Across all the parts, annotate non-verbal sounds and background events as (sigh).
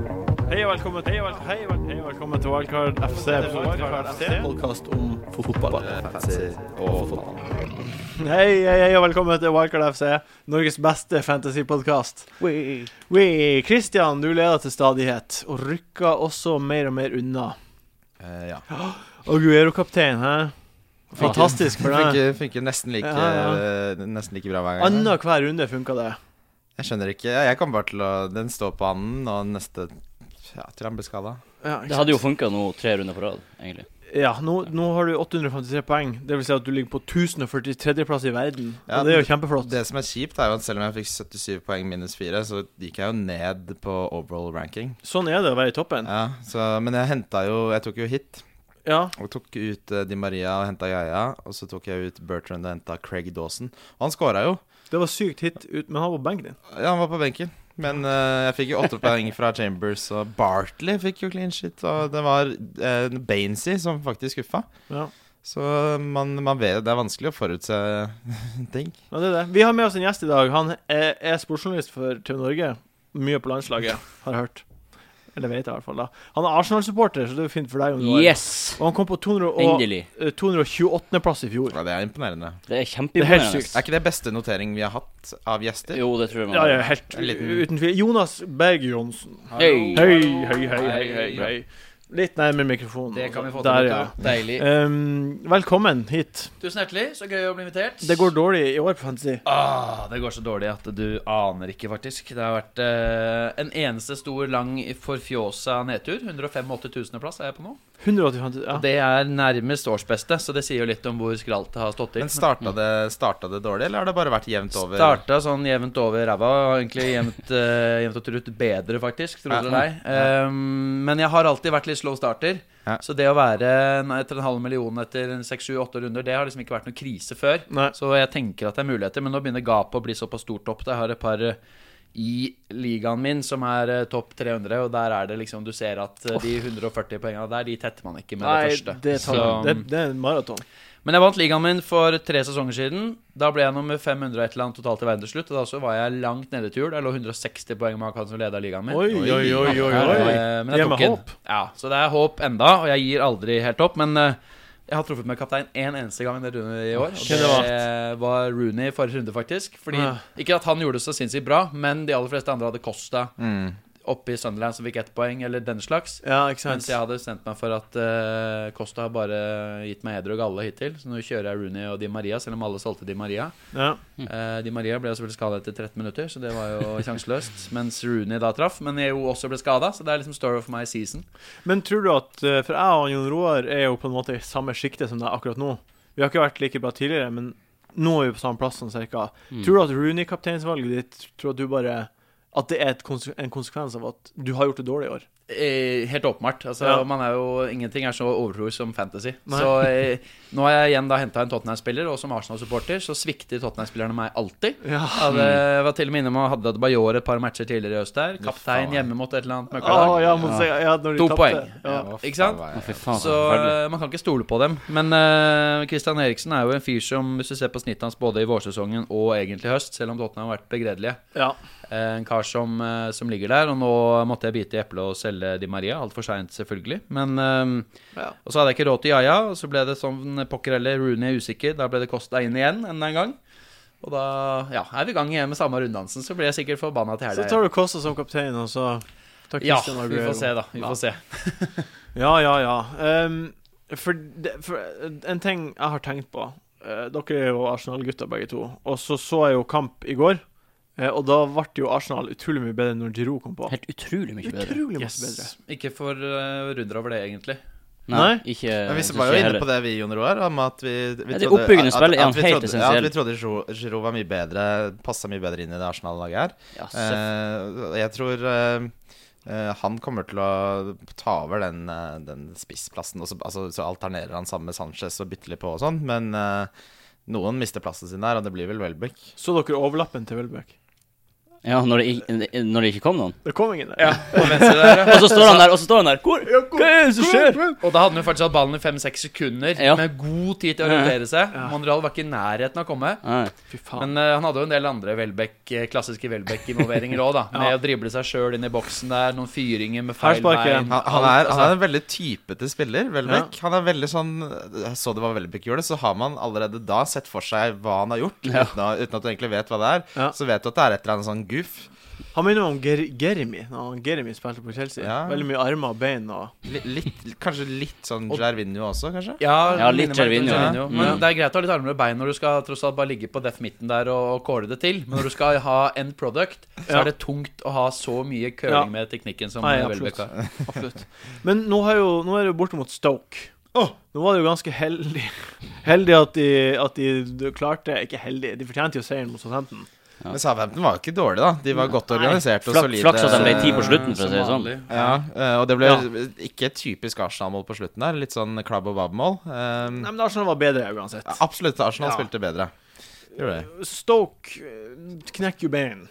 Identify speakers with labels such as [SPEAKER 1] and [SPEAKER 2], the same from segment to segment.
[SPEAKER 1] og velkommen til Hei og vel- hei og velkommen til Wildcard FC.
[SPEAKER 2] Podkast om fotball.
[SPEAKER 1] Hei, hei, hei og velkommen til Wildcard FC, Norges beste fantasypodkast. We, Christian, du leder til stadighet, og rykker også mer og mer unna.
[SPEAKER 3] ja.
[SPEAKER 1] Aguero-kaptein, hæ? Fantastisk for deg.
[SPEAKER 3] Funker, funker nesten, like, eh,
[SPEAKER 1] Ja,
[SPEAKER 3] nesten like bra hver gang.
[SPEAKER 1] Anna hver runde funka det.
[SPEAKER 3] Jeg skjønner ikke. Jeg kommer bare til å Den står på anden, og neste ja, til han blir skada.
[SPEAKER 1] Ja,
[SPEAKER 4] Det hadde jo funka nå tre runder på rad, egentlig.
[SPEAKER 1] Ja, nå, nå har du 853 poeng. Det vil si at du ligger på 1043.-plass i verden.
[SPEAKER 3] Ja,
[SPEAKER 1] og det er jo
[SPEAKER 3] men
[SPEAKER 1] kjempeflott.
[SPEAKER 3] Det som er kjipt, er jo at selv om jeg fikk 77 poeng minus 4, så gikk jeg jo ned på overall ranking.
[SPEAKER 1] Sånn er det å være i toppen.
[SPEAKER 3] Ja, så, men jeg henta jo Jeg tok jo hit.
[SPEAKER 1] Ja.
[SPEAKER 3] Og tok ut eh, Di Maria og henta Yaya. Og så tok jeg ut Bertrand og henta Craig Dawson. Og han scora jo.
[SPEAKER 1] Det var sykt hit, ut, men han var på benken din.
[SPEAKER 3] Ja, han var på benken. Men eh, jeg fikk jo åtte poeng fra Chambers, og Bartley fikk jo clean shit. Og det var uh, Bainsey som faktisk skuffa.
[SPEAKER 1] Ja.
[SPEAKER 3] Så man, man vet det er vanskelig å forutse (laughs) ting.
[SPEAKER 1] Ja, det er det. Vi har med oss en gjest i dag. Han er, er sportsjournalist for TV Norge. Mye på landslaget, har jeg hørt. Eller vet jeg i hvert fall. da Han er Arsenal-supporter, så det er jo fint for deg. om du var-
[SPEAKER 4] Yes!
[SPEAKER 1] Og han kom på 200 og,
[SPEAKER 4] Endelig.
[SPEAKER 1] eh, 228.-plass i fjor.
[SPEAKER 3] Ja, det er imponerende.
[SPEAKER 4] Det er
[SPEAKER 1] Det er helt
[SPEAKER 4] kjempeimponerende.
[SPEAKER 1] sykt.
[SPEAKER 3] Er ikke det beste notering vi har hatt av gjester?
[SPEAKER 4] Jo, det tror jeg man
[SPEAKER 1] Ja, ja, helt
[SPEAKER 3] En liten-
[SPEAKER 1] uten tvil. Jonas Berg Johnsen.
[SPEAKER 4] Hei.
[SPEAKER 1] Hei, hei, hei, hei, hei, hei. Litt nærmere mikrofonen.
[SPEAKER 5] Det kan vi få til.
[SPEAKER 1] Der,
[SPEAKER 5] vet
[SPEAKER 1] ja.
[SPEAKER 5] du. Deilig.
[SPEAKER 1] Ehm, velkommen hit.
[SPEAKER 5] Tusen hjertelig. Så gøy å bli invitert.
[SPEAKER 1] Det går dårlig i år på Fantasy.
[SPEAKER 5] ah, det går så dårlig at du aner ikke, faktisk. Det har vært eh, en eneste stor, lang forfjåsa nedtur. 185 000.-plass er jeg på nå.
[SPEAKER 1] 185 ja.
[SPEAKER 5] Det er nærmest årsbeste, så det sier jo litt om hvor skralt det har stått til.
[SPEAKER 3] Men
[SPEAKER 4] Mm.
[SPEAKER 3] starta det, starta det dårlig, eller har det bare vært jevnt over?
[SPEAKER 5] Starta sånn jevnt over ræva. og Egentlig jevnt, eh, jevnt og trutt bedre, faktisk. Tro det eller ei. Ehm, men jeg har alltid vært litt slow starter.
[SPEAKER 3] Ja.
[SPEAKER 5] Så det å være en- etter en halv million etter en seks, sju, åtte runder, det har liksom ikke vært noen krise før.
[SPEAKER 1] Nei.
[SPEAKER 5] Så jeg tenker at det er muligheter, men nå begynner gapet å bli såpass stort opp. Jeg har et par eh, i ligaen min som er eh, topp 300, og der er det liksom Du ser at eh, de 140 poengene der, de tetter man ikke med
[SPEAKER 1] Nei,
[SPEAKER 5] det første.
[SPEAKER 1] det, tar,
[SPEAKER 5] Så-
[SPEAKER 1] det, det er en maraton.
[SPEAKER 5] men jeg vant ligaen min for tre sesonger siden. Da ble jeg nummer 500 og et eller annet totalt i verden til slutt. Og da så var jeg langt nede til jul. Jeg lå 160 poeng bak han som leda ligaen min.
[SPEAKER 1] Oi, oi, oi, oi, oi.
[SPEAKER 5] Eh, Men
[SPEAKER 1] Det
[SPEAKER 5] jeg
[SPEAKER 1] er med
[SPEAKER 5] tok den.
[SPEAKER 1] håp.
[SPEAKER 5] Ja, så det er håp enda, og jeg gir aldri helt opp. Men eh, jeg har truffet med kaptein én eneste gang i runde i år.
[SPEAKER 1] Hvem det
[SPEAKER 5] Og
[SPEAKER 1] var?
[SPEAKER 5] det var Rooney i forrige runde, faktisk. Fordi,
[SPEAKER 1] Ja.
[SPEAKER 5] Ikke at han gjorde det så sinnssykt bra, men de aller fleste andre hadde Costa
[SPEAKER 3] Mm.
[SPEAKER 5] oppe i Sunderland som fikk ett poeng, eller den slags.
[SPEAKER 1] Ja, ikke sant.
[SPEAKER 5] Mens jeg hadde sendt meg for at eh, Costa har bare gitt meg heder og galle hittil. Så nå kjører jeg Rooney og Di Maria, selv om alle solgte Di Maria.
[SPEAKER 1] Ja.
[SPEAKER 5] Eh, Di Maria ble jo selvfølgelig skada etter 13 minutter, så det var jo (laughs) sjanseløst. Mens Rooney da traff, men jeg jo også ble skada, så det er liksom story of my season.
[SPEAKER 1] Men tror du at eh, For jeg og Jon Roar er jo på en måte i samme sjikte som deg akkurat nå. Vi har ikke vært like bra tidligere, men nå er vi på samme plass sånn cirka.
[SPEAKER 4] Mm.
[SPEAKER 5] Mm.
[SPEAKER 1] Tror du at Rooney-kapteinsvalget ditt Tror at du bare At det er et konse en konsekvens av at du har gjort det dårlig i år?
[SPEAKER 5] Eh, helt åpenbart. Altså,
[SPEAKER 1] Ja.
[SPEAKER 5] man er jo, ingenting er så overtroisk som fantasy.
[SPEAKER 1] Nei.
[SPEAKER 5] Så eh, nå har jeg igjen da henta en Tottenham-spiller, og som Arsenal-supporter så svikter Tottenham-spillerne meg alltid.
[SPEAKER 1] Ja.
[SPEAKER 5] Jeg Hadde,
[SPEAKER 1] Mm.
[SPEAKER 5] jeg var til og med inne med Haddad Bajor et par matcher tidligere i øst der. Kaptein hjemme mot et eller annet møkkalag.
[SPEAKER 1] Å, Ah, ja, må si, ja, når de
[SPEAKER 5] To
[SPEAKER 1] tapte.
[SPEAKER 5] poeng.
[SPEAKER 1] Ja.
[SPEAKER 3] Hva
[SPEAKER 5] Ikke sant?
[SPEAKER 3] faen var
[SPEAKER 4] Å,
[SPEAKER 3] jeg-
[SPEAKER 4] fy faen,
[SPEAKER 5] Så
[SPEAKER 4] så forferdelig.
[SPEAKER 5] eh, man kan ikke stole på dem. Men eh, Christian Eriksen er jo en fyr som, hvis du ser på snittet hans både i vårsesongen og egentlig i høst, selv om Tottenham har vært begredelige,
[SPEAKER 1] Ja.
[SPEAKER 5] eh, en kar som, eh, som ligger der. Og nå måtte jeg bite i eplet og selge Di Maria. Altfor seint, selvfølgelig. Men eh,
[SPEAKER 1] Ja.
[SPEAKER 5] Og så hadde jeg ikke råd til Yaya, og så ble det sånn pokker heller. Rooney er usikker. Da ble det Costa inn igjen enda en gang. Og da ja, er vi i gang igjen med samme runddansen, så blir jeg sikkert forbanna til
[SPEAKER 1] Så
[SPEAKER 5] helga.
[SPEAKER 1] tar du Kosta som kaptein, og så tar
[SPEAKER 5] Ja,
[SPEAKER 1] Christian
[SPEAKER 5] vi
[SPEAKER 1] Aguero.
[SPEAKER 5] får se, da. Vi
[SPEAKER 1] Ja.
[SPEAKER 5] får se.
[SPEAKER 1] Ja, ja, ja. Ehm, for, det, for eh, en ting jeg har tenkt på eh, Dere er jo Arsenal-gutter begge to. Og så så jeg jo kamp i går, eh, og da ble jo Arsenal utrolig mye bedre når Giroud kom på.
[SPEAKER 4] Helt utrolig mye bedre.
[SPEAKER 1] Utrolig masse bedre.
[SPEAKER 5] Yes. Ikke for uh, runder over det, egentlig.
[SPEAKER 4] Nei,
[SPEAKER 1] Nei?
[SPEAKER 4] ikke
[SPEAKER 3] Men vi
[SPEAKER 4] synes
[SPEAKER 3] var jo
[SPEAKER 4] jeg
[SPEAKER 3] inne
[SPEAKER 4] heller.
[SPEAKER 3] på det vi, Jon Roar, om at vi, vi
[SPEAKER 4] Ja, det oppbyggende spillet
[SPEAKER 3] at
[SPEAKER 4] er han
[SPEAKER 3] vi
[SPEAKER 4] helt
[SPEAKER 3] trodde- Ja,
[SPEAKER 4] essensiell.
[SPEAKER 3] at vi trodde Giroud- Giroud var mye bedre, passa mye bedre inn i det Arsenal-laget her.
[SPEAKER 4] Ja, selvfølgelig.
[SPEAKER 3] Eh, jeg tror eh, eh, han kommer til å ta over den, eh, den spissplassen. Og så, altså, så alternerer han sammen med Sanchez og bytter litt på og sånn. Men eh, noen mister plassen sin der, og det blir vel Welbeck.
[SPEAKER 1] Så dere overlappen til Welbeck?
[SPEAKER 4] Ja, når det, ikke- når det ikke kom
[SPEAKER 1] (laughs)
[SPEAKER 4] noen.
[SPEAKER 1] Det kom ingen der.
[SPEAKER 5] På venstre der, ja.
[SPEAKER 4] Og så står han der, og så står han der. Hvor? Hva er det som skjer?
[SPEAKER 5] (laughs) Og da hadde han jo faktisk hatt ballen i fem-seks sekunder,
[SPEAKER 4] Ja.
[SPEAKER 5] med god tid til å
[SPEAKER 4] Ja.
[SPEAKER 5] orientere seg. Monreal var ikke i nærheten av å komme.
[SPEAKER 4] Nei.
[SPEAKER 1] Fy faen.
[SPEAKER 5] Men eh, han hadde jo en del andre Welbeck, eh, klassiske Welbeck-involveringer òg, da. Med å drible seg sjøl inn i boksen der, noen fyringer med feil
[SPEAKER 1] Feilspark, ja.
[SPEAKER 5] bein. Altså,
[SPEAKER 3] Han, han, er, han er en veldig typete spiller, Welbeck. Han er veldig sånn Jeg så det var Welbeck gjorde, så har man allerede da sett for seg hva han har gjort,
[SPEAKER 4] Ja.
[SPEAKER 3] uten, å, uten at du egentlig vet hva det er.
[SPEAKER 1] Ja.
[SPEAKER 3] Så vet du at det er et eller annet sånn goof.
[SPEAKER 1] Han minner meg om Ger Germi, når han Germi spilte på Chelsea.
[SPEAKER 3] Ja.
[SPEAKER 1] Veldig mye armer og bein og
[SPEAKER 3] Li- Litt, kanskje litt sånn Gervinho også, kanskje?
[SPEAKER 5] Ja,
[SPEAKER 4] Ja, litt
[SPEAKER 5] minner meg om
[SPEAKER 4] Gervinho,
[SPEAKER 5] Gervinho.
[SPEAKER 4] ja.
[SPEAKER 5] Men
[SPEAKER 4] Mm.
[SPEAKER 5] det er greit å ha litt armer og bein når du skal tross alt bare ligge på death midten der og kåle det til. Men når du skal ha end product, så
[SPEAKER 1] Ja.
[SPEAKER 5] er det tungt å ha så mye curling
[SPEAKER 1] Ja.
[SPEAKER 5] med teknikken som
[SPEAKER 1] Nei,
[SPEAKER 5] eh,
[SPEAKER 1] absolutt.
[SPEAKER 5] Welbeck har.
[SPEAKER 1] (laughs) Absolutt. Men nå, har jo, nå er det jo borte mot Stoke. Nå var det jo ganske heldig Heldig at de, at de klarte Ikke heldig, de fortjente jo seieren mot Southampton.
[SPEAKER 3] Men Southampton var jo ikke dårlig, da. De var godt organisert og
[SPEAKER 4] Flaks-
[SPEAKER 3] solide.
[SPEAKER 4] Flaks at de ble ti på slutten, for å
[SPEAKER 5] Eh, Som
[SPEAKER 4] si det sånn.
[SPEAKER 5] vanlig.
[SPEAKER 3] Ja, eh, og det ble
[SPEAKER 1] Ja.
[SPEAKER 3] ikke et typisk Arsenal-mål på slutten der. Litt sånn klabb og babb-mål. Um,
[SPEAKER 1] Nei, men Arsenal var bedre uansett.
[SPEAKER 3] absolutt, Arsenal
[SPEAKER 1] Ja.
[SPEAKER 3] spilte bedre. Gjorde de.
[SPEAKER 1] Stoke eh, knekker jo bein.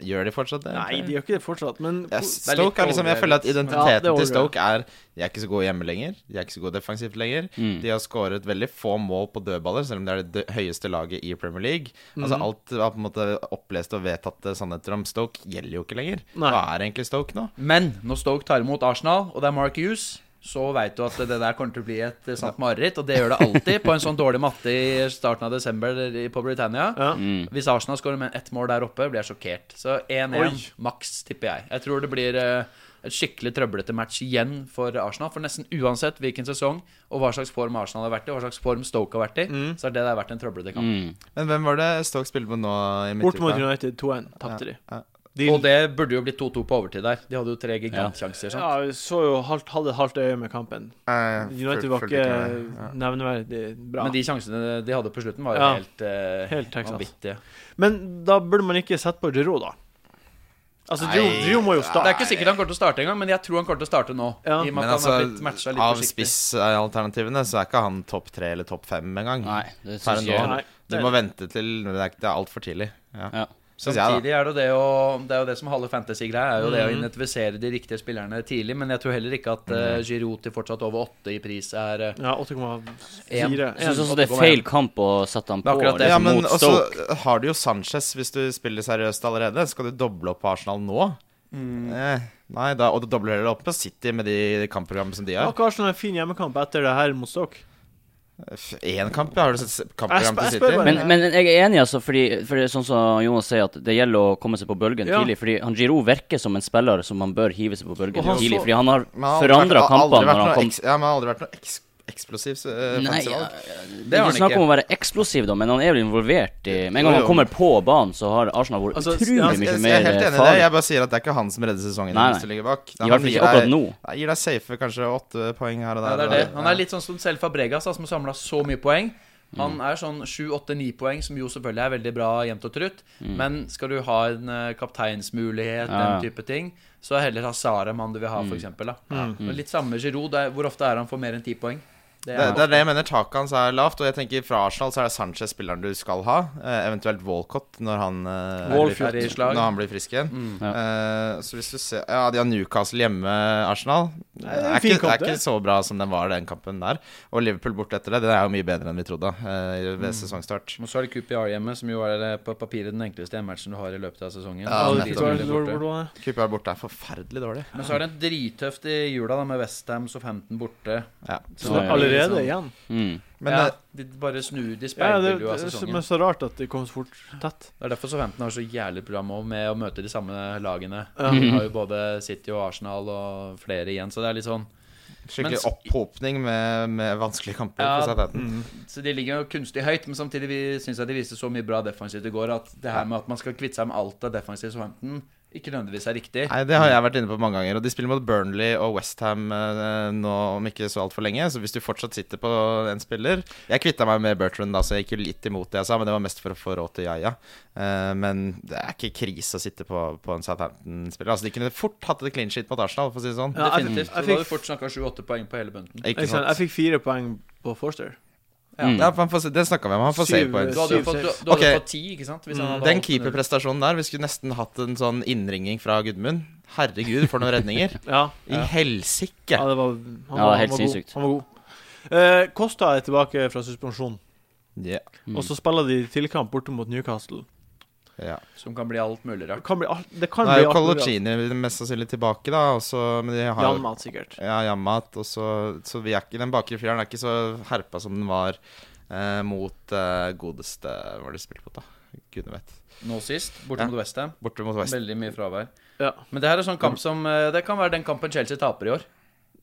[SPEAKER 3] Gjør de fortsatt det?
[SPEAKER 1] Nei, de gjør ikke det fortsatt, men
[SPEAKER 3] Ja,
[SPEAKER 5] er litt
[SPEAKER 3] Stoke er liksom, Jeg føler at
[SPEAKER 1] Ja,
[SPEAKER 3] identiteten
[SPEAKER 1] det
[SPEAKER 3] til
[SPEAKER 1] overrasker.
[SPEAKER 3] Stoke er De er ikke så gode hjemme lenger. De er ikke så gode defensivt lenger.
[SPEAKER 4] Mm.
[SPEAKER 3] De har skåret veldig få mål på dødballer, selv om det er det dø- høyeste laget i Premier League.
[SPEAKER 1] Mm.
[SPEAKER 3] Altså Alt av på en måte oppleste og vedtatte sannheter om Stoke gjelder jo ikke lenger.
[SPEAKER 1] Nei.
[SPEAKER 3] Hva er egentlig Stoke nå?
[SPEAKER 5] Men når Stoke tar imot Arsenal, og det er Mark Hughes, så veit du at det der kommer til å bli et eh, sant mareritt. Og det gjør det alltid på en sånn dårlig matte i starten av desember i- på Britannia.
[SPEAKER 1] ja.
[SPEAKER 4] Mm.
[SPEAKER 5] Hvis Arsenal skårer med ett mål der oppe, blir jeg sjokkert. Så 1-1 maks, tipper jeg. Jeg tror det blir eh, et skikkelig trøblete match igjen for Arsenal. For nesten uansett hvilken sesong og hva slags form Arsenal har vært i, og hva slags form Stoke har vært i,
[SPEAKER 1] Mm.
[SPEAKER 5] så har det der vært en trøblete kamp.
[SPEAKER 4] Mm.
[SPEAKER 3] Men hvem var det Stoke spilte på nå i
[SPEAKER 1] Bort mot
[SPEAKER 3] midtuka?
[SPEAKER 1] United 2-1, tapte
[SPEAKER 3] ja.
[SPEAKER 1] de.
[SPEAKER 5] Og
[SPEAKER 1] De
[SPEAKER 5] det burde jo blitt 2-2 på overtid der. De hadde jo tre sånn. gigantsjanser. sant?
[SPEAKER 1] ja, vi så jo halvt, hadde et halvt øye med kampen.
[SPEAKER 3] Eh,
[SPEAKER 1] United
[SPEAKER 3] fulg-
[SPEAKER 1] var
[SPEAKER 3] fulgte
[SPEAKER 1] ikke
[SPEAKER 3] med. Ja.
[SPEAKER 1] nevneverdig bra.
[SPEAKER 5] Men de sjansene de hadde på slutten, var jo
[SPEAKER 1] Ja.
[SPEAKER 5] helt, eh,
[SPEAKER 1] Helt Texas.
[SPEAKER 5] vanvittige.
[SPEAKER 1] Men da burde man ikke sette på Giroud, da. Altså, Giroud,
[SPEAKER 3] Nei.
[SPEAKER 1] Giroud må jo
[SPEAKER 5] Det er
[SPEAKER 1] starte.
[SPEAKER 5] ikke sikkert han kommer til å starte engang, men jeg tror han kommer til å starte nå.
[SPEAKER 1] Ja.
[SPEAKER 5] I og med at
[SPEAKER 3] Men
[SPEAKER 5] han har blitt
[SPEAKER 3] altså,
[SPEAKER 5] matcha litt
[SPEAKER 3] av
[SPEAKER 5] forsiktig.
[SPEAKER 3] spissalternativene så er ikke han topp tre eller topp fem engang.
[SPEAKER 4] Nei, det
[SPEAKER 3] Tar
[SPEAKER 4] synes
[SPEAKER 3] en
[SPEAKER 4] jeg
[SPEAKER 3] nå.
[SPEAKER 4] heller.
[SPEAKER 1] Nei,
[SPEAKER 3] Du
[SPEAKER 1] det-
[SPEAKER 3] må vente til Det er, det er altfor tidlig. Ja.
[SPEAKER 4] Ja.
[SPEAKER 3] Synes jeg, da.
[SPEAKER 5] Samtidig er det jo det å Det er jo det som halve fantasy-greia er jo det å
[SPEAKER 1] Mm.
[SPEAKER 5] identifisere de riktige spillerne tidlig, men jeg tror heller ikke at uh, Giroud til fortsatt over åtte i pris er eh,
[SPEAKER 1] Ja, 8,4.
[SPEAKER 5] En.
[SPEAKER 4] Jeg synes også
[SPEAKER 1] En.
[SPEAKER 4] det er feil kamp å sette han på
[SPEAKER 5] Det er akkurat det.
[SPEAKER 4] liksom,
[SPEAKER 3] Ja, men
[SPEAKER 4] mot
[SPEAKER 3] også
[SPEAKER 4] Stoke.
[SPEAKER 3] har du jo Sanchez hvis du spiller seriøst allerede. Skal du doble opp på Arsenal nå?
[SPEAKER 1] Mm.
[SPEAKER 3] Eh, nei, da, og du dobler heller opp på City med de kampprogrammene som de
[SPEAKER 1] Ja,
[SPEAKER 3] har.
[SPEAKER 1] ikke Arsenal en fin hjemmekamp etter det her mot Stoke.
[SPEAKER 3] Én kamp, ja. Har du sett kampprogram
[SPEAKER 1] Jeg
[SPEAKER 3] til
[SPEAKER 1] spør- jeg spør
[SPEAKER 3] City?
[SPEAKER 1] bare.
[SPEAKER 4] Men, men jeg er enig, altså, fordi, for det er sånn som Jonas sier, at det gjelder å komme seg på bølgen
[SPEAKER 1] Ja.
[SPEAKER 4] tidlig. Fordi han Giroud virker som en spiller som han bør hive seg på bølgen
[SPEAKER 1] Og han
[SPEAKER 4] tidlig.
[SPEAKER 1] så-
[SPEAKER 4] Fordi han har
[SPEAKER 3] Men han har aldri
[SPEAKER 4] forandra
[SPEAKER 3] vært- aldri
[SPEAKER 4] kampene
[SPEAKER 3] vært
[SPEAKER 4] når han
[SPEAKER 3] noe
[SPEAKER 4] kom
[SPEAKER 3] eks- Ja, men han har aldri vært noe eks eksplosivt eh,
[SPEAKER 4] Nei, ja,
[SPEAKER 3] fancy-valg.
[SPEAKER 4] det er
[SPEAKER 5] har han
[SPEAKER 4] ikke snakk
[SPEAKER 5] ikke.
[SPEAKER 4] om å være eksplosiv, da, men han er jo involvert i Med
[SPEAKER 3] Jo,
[SPEAKER 4] en gang han
[SPEAKER 3] jo.
[SPEAKER 4] kommer på banen, så har Arsenal vært
[SPEAKER 1] Altså,
[SPEAKER 4] utrolig
[SPEAKER 1] ja,
[SPEAKER 3] Jeg,
[SPEAKER 4] mye
[SPEAKER 3] jeg, jeg er
[SPEAKER 4] mer
[SPEAKER 3] helt enig i det.
[SPEAKER 4] farlig.
[SPEAKER 3] Jeg bare sier at det er ikke han som redder sesongen
[SPEAKER 4] Nei,
[SPEAKER 3] hvis du ligger bak. Det er
[SPEAKER 4] I
[SPEAKER 3] han
[SPEAKER 4] hvert fall
[SPEAKER 3] gir
[SPEAKER 4] ikke akkurat
[SPEAKER 3] deg-
[SPEAKER 4] nå.
[SPEAKER 3] Nei, gir deg safe kanskje åtte poeng her og der.
[SPEAKER 5] Ja, det er det.
[SPEAKER 3] og-
[SPEAKER 5] Han er litt sånn som selv Fabregas, da, som har samla så mye poeng. Han er sånn sju, åtte, ni poeng, som jo selvfølgelig er veldig bra jevnt og trutt. Men skal du ha en eh, kapteinsmulighet,
[SPEAKER 4] Ja.
[SPEAKER 5] den type ting, så er heller Hazara mann du vil ha, for eksempel, da.
[SPEAKER 1] Mm.
[SPEAKER 5] Men Litt samme med Giroud. det er- Hvor ofte er han for mer enn ti poeng? Det
[SPEAKER 3] Det,
[SPEAKER 5] er,
[SPEAKER 3] det er det jeg mener. Taket hans er lavt. Og jeg tenker fra Arsenal så er det Sanchez spilleren du skal ha. eh, eventuelt Walcott når han, eh,
[SPEAKER 5] Walcott.
[SPEAKER 3] blir-
[SPEAKER 5] Er i slag.
[SPEAKER 3] når han blir frisk igjen.
[SPEAKER 5] Mm.
[SPEAKER 4] Ja.
[SPEAKER 3] Eh, så hvis du ser Ja, de har Newcastle hjemme, Arsenal. Det
[SPEAKER 1] er en
[SPEAKER 3] er,
[SPEAKER 1] fin
[SPEAKER 3] ikke, det
[SPEAKER 1] kamp,
[SPEAKER 3] er ikke så bra som den var, den kampen der. Og Liverpool borte etter det. Det er jo mye bedre enn vi trodde eh,
[SPEAKER 5] Mm.
[SPEAKER 3] ved sesongstart.
[SPEAKER 5] Og så er det QPR hjemme, som jo er eh, på papiret den enkleste hjemmematchen du har i løpet av sesongen.
[SPEAKER 3] Ja,
[SPEAKER 1] Ja,
[SPEAKER 5] Og
[SPEAKER 1] det
[SPEAKER 5] de
[SPEAKER 1] fikk
[SPEAKER 5] spiller
[SPEAKER 3] nettopp.
[SPEAKER 1] være hvor- hvor
[SPEAKER 5] borte.
[SPEAKER 1] det var.
[SPEAKER 3] Cooper er borte er forferdelig dårlig.
[SPEAKER 5] Men så er det drittøft i jula da med Westham Southampton borte.
[SPEAKER 3] Ja.
[SPEAKER 4] Så
[SPEAKER 5] sånn-
[SPEAKER 4] det er
[SPEAKER 1] Allerede igjen.
[SPEAKER 4] Mm.
[SPEAKER 3] Men
[SPEAKER 5] ja,
[SPEAKER 3] eh,
[SPEAKER 5] de bare snur De
[SPEAKER 1] Ja,
[SPEAKER 5] speiler
[SPEAKER 1] det,
[SPEAKER 5] jo av
[SPEAKER 1] det er så-
[SPEAKER 5] sesongen.
[SPEAKER 1] men så rart at det kom så fort tett.
[SPEAKER 5] Det er derfor Southampton har så jævlig program også med å møte de samme lagene.
[SPEAKER 1] Ja. (laughs)
[SPEAKER 5] De har jo både City og Arsenal og flere igjen, så det er litt sånn
[SPEAKER 3] skikkelig
[SPEAKER 5] Men-
[SPEAKER 3] opphopning med, med vanskelige kamper.
[SPEAKER 5] Ja.
[SPEAKER 3] for Southampton.
[SPEAKER 5] Så de ligger jo kunstig høyt, men samtidig vi- syns jeg de viste så mye bra defensivt i går at det her med at man skal kvitte seg med alt av defensivt Southampton, ikke nødvendigvis er riktig.
[SPEAKER 3] Nei, Det har jeg vært inne på mange ganger. Og de spiller mot Burnley og Westham nå om ikke så altfor lenge. Så hvis du fortsatt sitter på en spiller Jeg kvitta meg med Bertrand, da, så jeg gikk jo litt imot det jeg sa, men det var mest for å få råd til Yaya. Eh, men det er ikke krise å sitte på, på en Southampton-spiller. Altså, de kunne fort hatt et clean sheet mot Arsenal, for å si det sånn.
[SPEAKER 1] Ja, jeg-
[SPEAKER 5] Definitivt.
[SPEAKER 1] jeg
[SPEAKER 5] Så da har
[SPEAKER 1] fikk-
[SPEAKER 5] vi fort snakka sju-åtte poeng på hele bunten.
[SPEAKER 3] Ikke
[SPEAKER 1] Ikke sant?
[SPEAKER 3] sant?
[SPEAKER 1] Jeg fikk fire poeng på Forster.
[SPEAKER 4] Mm.
[SPEAKER 3] Ja, for han får, se- det snakka vi om. Han får save
[SPEAKER 1] Syv-
[SPEAKER 3] points.
[SPEAKER 5] Du hadde jo
[SPEAKER 1] Syv,
[SPEAKER 5] fått, du,
[SPEAKER 1] seks.
[SPEAKER 5] du hadde
[SPEAKER 3] Ok.
[SPEAKER 5] fått ti, ikke sant? Hvis
[SPEAKER 1] Mm.
[SPEAKER 5] han hadde
[SPEAKER 3] Den
[SPEAKER 5] holdt den under.
[SPEAKER 3] keeperprestasjonen der, vi skulle nesten hatt en sånn innringning fra Gudmund. Herregud, for noen
[SPEAKER 1] (laughs)
[SPEAKER 3] redninger.
[SPEAKER 1] Ja,
[SPEAKER 3] I helsike!
[SPEAKER 1] ja det var,
[SPEAKER 4] Ja,
[SPEAKER 1] var-
[SPEAKER 4] helt
[SPEAKER 1] var god.
[SPEAKER 4] sinnssykt.
[SPEAKER 1] Han var god. Eh, Costa er tilbake fra suspensjon,
[SPEAKER 3] Ja.
[SPEAKER 4] Mm.
[SPEAKER 1] og så spiller de tilkamp borte mot Newcastle.
[SPEAKER 3] ja.
[SPEAKER 5] Som kan bli alt mulig
[SPEAKER 1] Det
[SPEAKER 5] rart.
[SPEAKER 1] kan bli alt Det kan
[SPEAKER 3] Nå
[SPEAKER 1] bli
[SPEAKER 3] er jo
[SPEAKER 1] alt mulig.
[SPEAKER 3] Coloccini mest sannsynlig tilbake, da. Og så, men de har jo
[SPEAKER 1] Janmat, sikkert.
[SPEAKER 3] ja, Jammat. Og så, så vi er ikke, den bakre fjæren er ikke så herpa som den var eh, mot eh, godeste Hva var det de spilte mot, da? Gudene vet.
[SPEAKER 5] Nå sist, borte
[SPEAKER 3] Ja.
[SPEAKER 5] mot Westham.
[SPEAKER 3] Borte mot West.
[SPEAKER 5] Veldig mye fravær.
[SPEAKER 1] Ja.
[SPEAKER 5] Men det her er sånn kamp som eh, Det kan være den kampen Chelsea taper i år.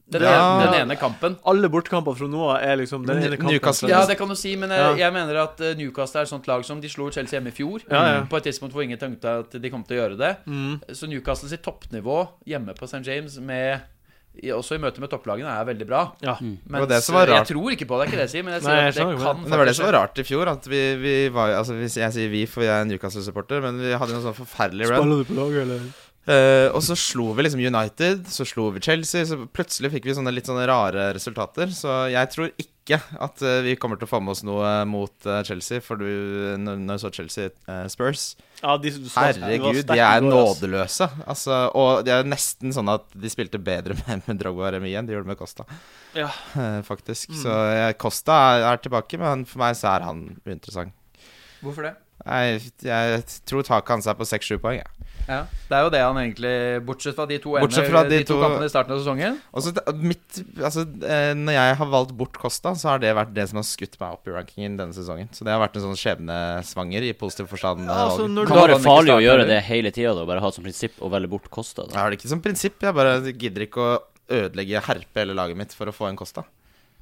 [SPEAKER 5] Den,
[SPEAKER 3] Ja.
[SPEAKER 5] ene, den ene kampen.
[SPEAKER 1] Alle bortekamper fra nå av er liksom den
[SPEAKER 3] Men
[SPEAKER 1] ene kampen.
[SPEAKER 3] Newcastle-
[SPEAKER 5] Ja, det kan du si, men jeg,
[SPEAKER 1] Ja.
[SPEAKER 5] jeg mener at eh, Newcastle er et sånt lag som de slo Chelsea hjemme i fjor.
[SPEAKER 1] Ja, ja.
[SPEAKER 5] På et tidspunkt hvor ingen tenkte at de kom til å gjøre det.
[SPEAKER 1] Mm.
[SPEAKER 5] Så Newcastle sitt toppnivå hjemme på St. James, med, i, også i møte med topplagene, er veldig bra.
[SPEAKER 1] Ja.
[SPEAKER 5] Men
[SPEAKER 3] det som var rart.
[SPEAKER 5] jeg tror ikke på det, er ikke det jeg sier, men jeg sier
[SPEAKER 1] Nei, jeg
[SPEAKER 5] at det
[SPEAKER 1] skjønner ikke
[SPEAKER 5] kan
[SPEAKER 3] Men det var det
[SPEAKER 5] faktisk
[SPEAKER 3] som var rart i fjor. At vi, vi var jo- Altså, hvis jeg sier vi, for jeg er en Newcastle-supporter, men vi hadde jo en sånn forferdelig run.
[SPEAKER 1] Spiller du på laget, eller?
[SPEAKER 3] Eh, og så slo vi liksom United, så slo vi Chelsea, så plutselig fikk vi sånne litt sånne rare resultater. Så jeg tror ikke at eh, vi kommer til å få med oss noe mot eh, Chelsea, for du, når, når jeg så Chelsea eh, Spurs
[SPEAKER 1] Ja, de som slapp- det var
[SPEAKER 3] Herregud,
[SPEAKER 1] sterkt
[SPEAKER 3] de er
[SPEAKER 1] i går, ass.
[SPEAKER 3] nådeløse. Altså, og det er nesten sånn at de spilte bedre (laughs) med, med Drogba og Remi enn de gjorde med Costa,
[SPEAKER 1] Ja.
[SPEAKER 3] eh, faktisk. Så jeg- Costa er, er tilbake, men for meg så er han uinteressant.
[SPEAKER 5] Hvorfor det?
[SPEAKER 3] Jeg, jeg tror taket hans er på seks-sju poeng. jeg.
[SPEAKER 5] Ja, det er jo det han egentlig Bortsett fra de to, eh,
[SPEAKER 3] Bortsett fra
[SPEAKER 5] de
[SPEAKER 3] de
[SPEAKER 5] to
[SPEAKER 3] to-
[SPEAKER 5] kampene i starten av sesongen.
[SPEAKER 3] Og så t- mitt, altså, eh, når jeg har valgt bort Costa, så har det vært det som har skutt meg opp i rankingen denne sesongen. Så det har vært en sånn skjebnesvanger i positiv forstand. eh,
[SPEAKER 1] Ja, altså,
[SPEAKER 3] valg.
[SPEAKER 1] når du-
[SPEAKER 4] Kan
[SPEAKER 5] Da
[SPEAKER 4] være
[SPEAKER 5] han ikke
[SPEAKER 4] farlig å
[SPEAKER 5] starter,
[SPEAKER 4] gjøre
[SPEAKER 5] eller?
[SPEAKER 4] det hele tida, da. Bare ha som prinsipp å velge bort Kosta.
[SPEAKER 3] Jeg har det ikke som prinsipp. Jeg bare gidder ikke å ødelegge herpe hele laget mitt for å få en Costa.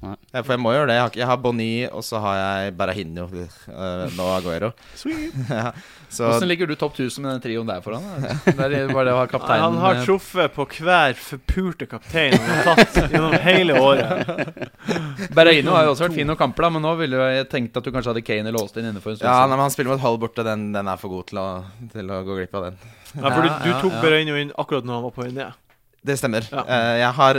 [SPEAKER 4] Nei.
[SPEAKER 3] Ja, For jeg må gjøre det. Jeg har, ikke- jeg har Boni, og så har jeg Berahino eh, nå Aguero. ja, så
[SPEAKER 5] Hvordan ligger du topp 1000 med den trioen der foran? da? Der er bare det å ha
[SPEAKER 1] Nei,
[SPEAKER 5] kapteinen
[SPEAKER 1] han har
[SPEAKER 5] eh,
[SPEAKER 1] truffet på hver forpurte kaptein han har tatt gjennom hele året.
[SPEAKER 5] Berahino har jo også vært fin noen kamper, da, men nå ville jo jeg tenkt at du kanskje hadde Kane eller Austin inne for en stund
[SPEAKER 3] ja, nei,
[SPEAKER 5] siden.
[SPEAKER 3] men han spiller mot Hull borte. Den, den er for god til å, til å gå glipp av den.
[SPEAKER 1] Ja, for du,
[SPEAKER 5] Ja,
[SPEAKER 1] du
[SPEAKER 5] ja,
[SPEAKER 1] tok
[SPEAKER 5] ja.
[SPEAKER 1] Bereino inn akkurat når han var på vei ned.
[SPEAKER 3] Det stemmer.
[SPEAKER 1] Ja.
[SPEAKER 3] Eh, jeg har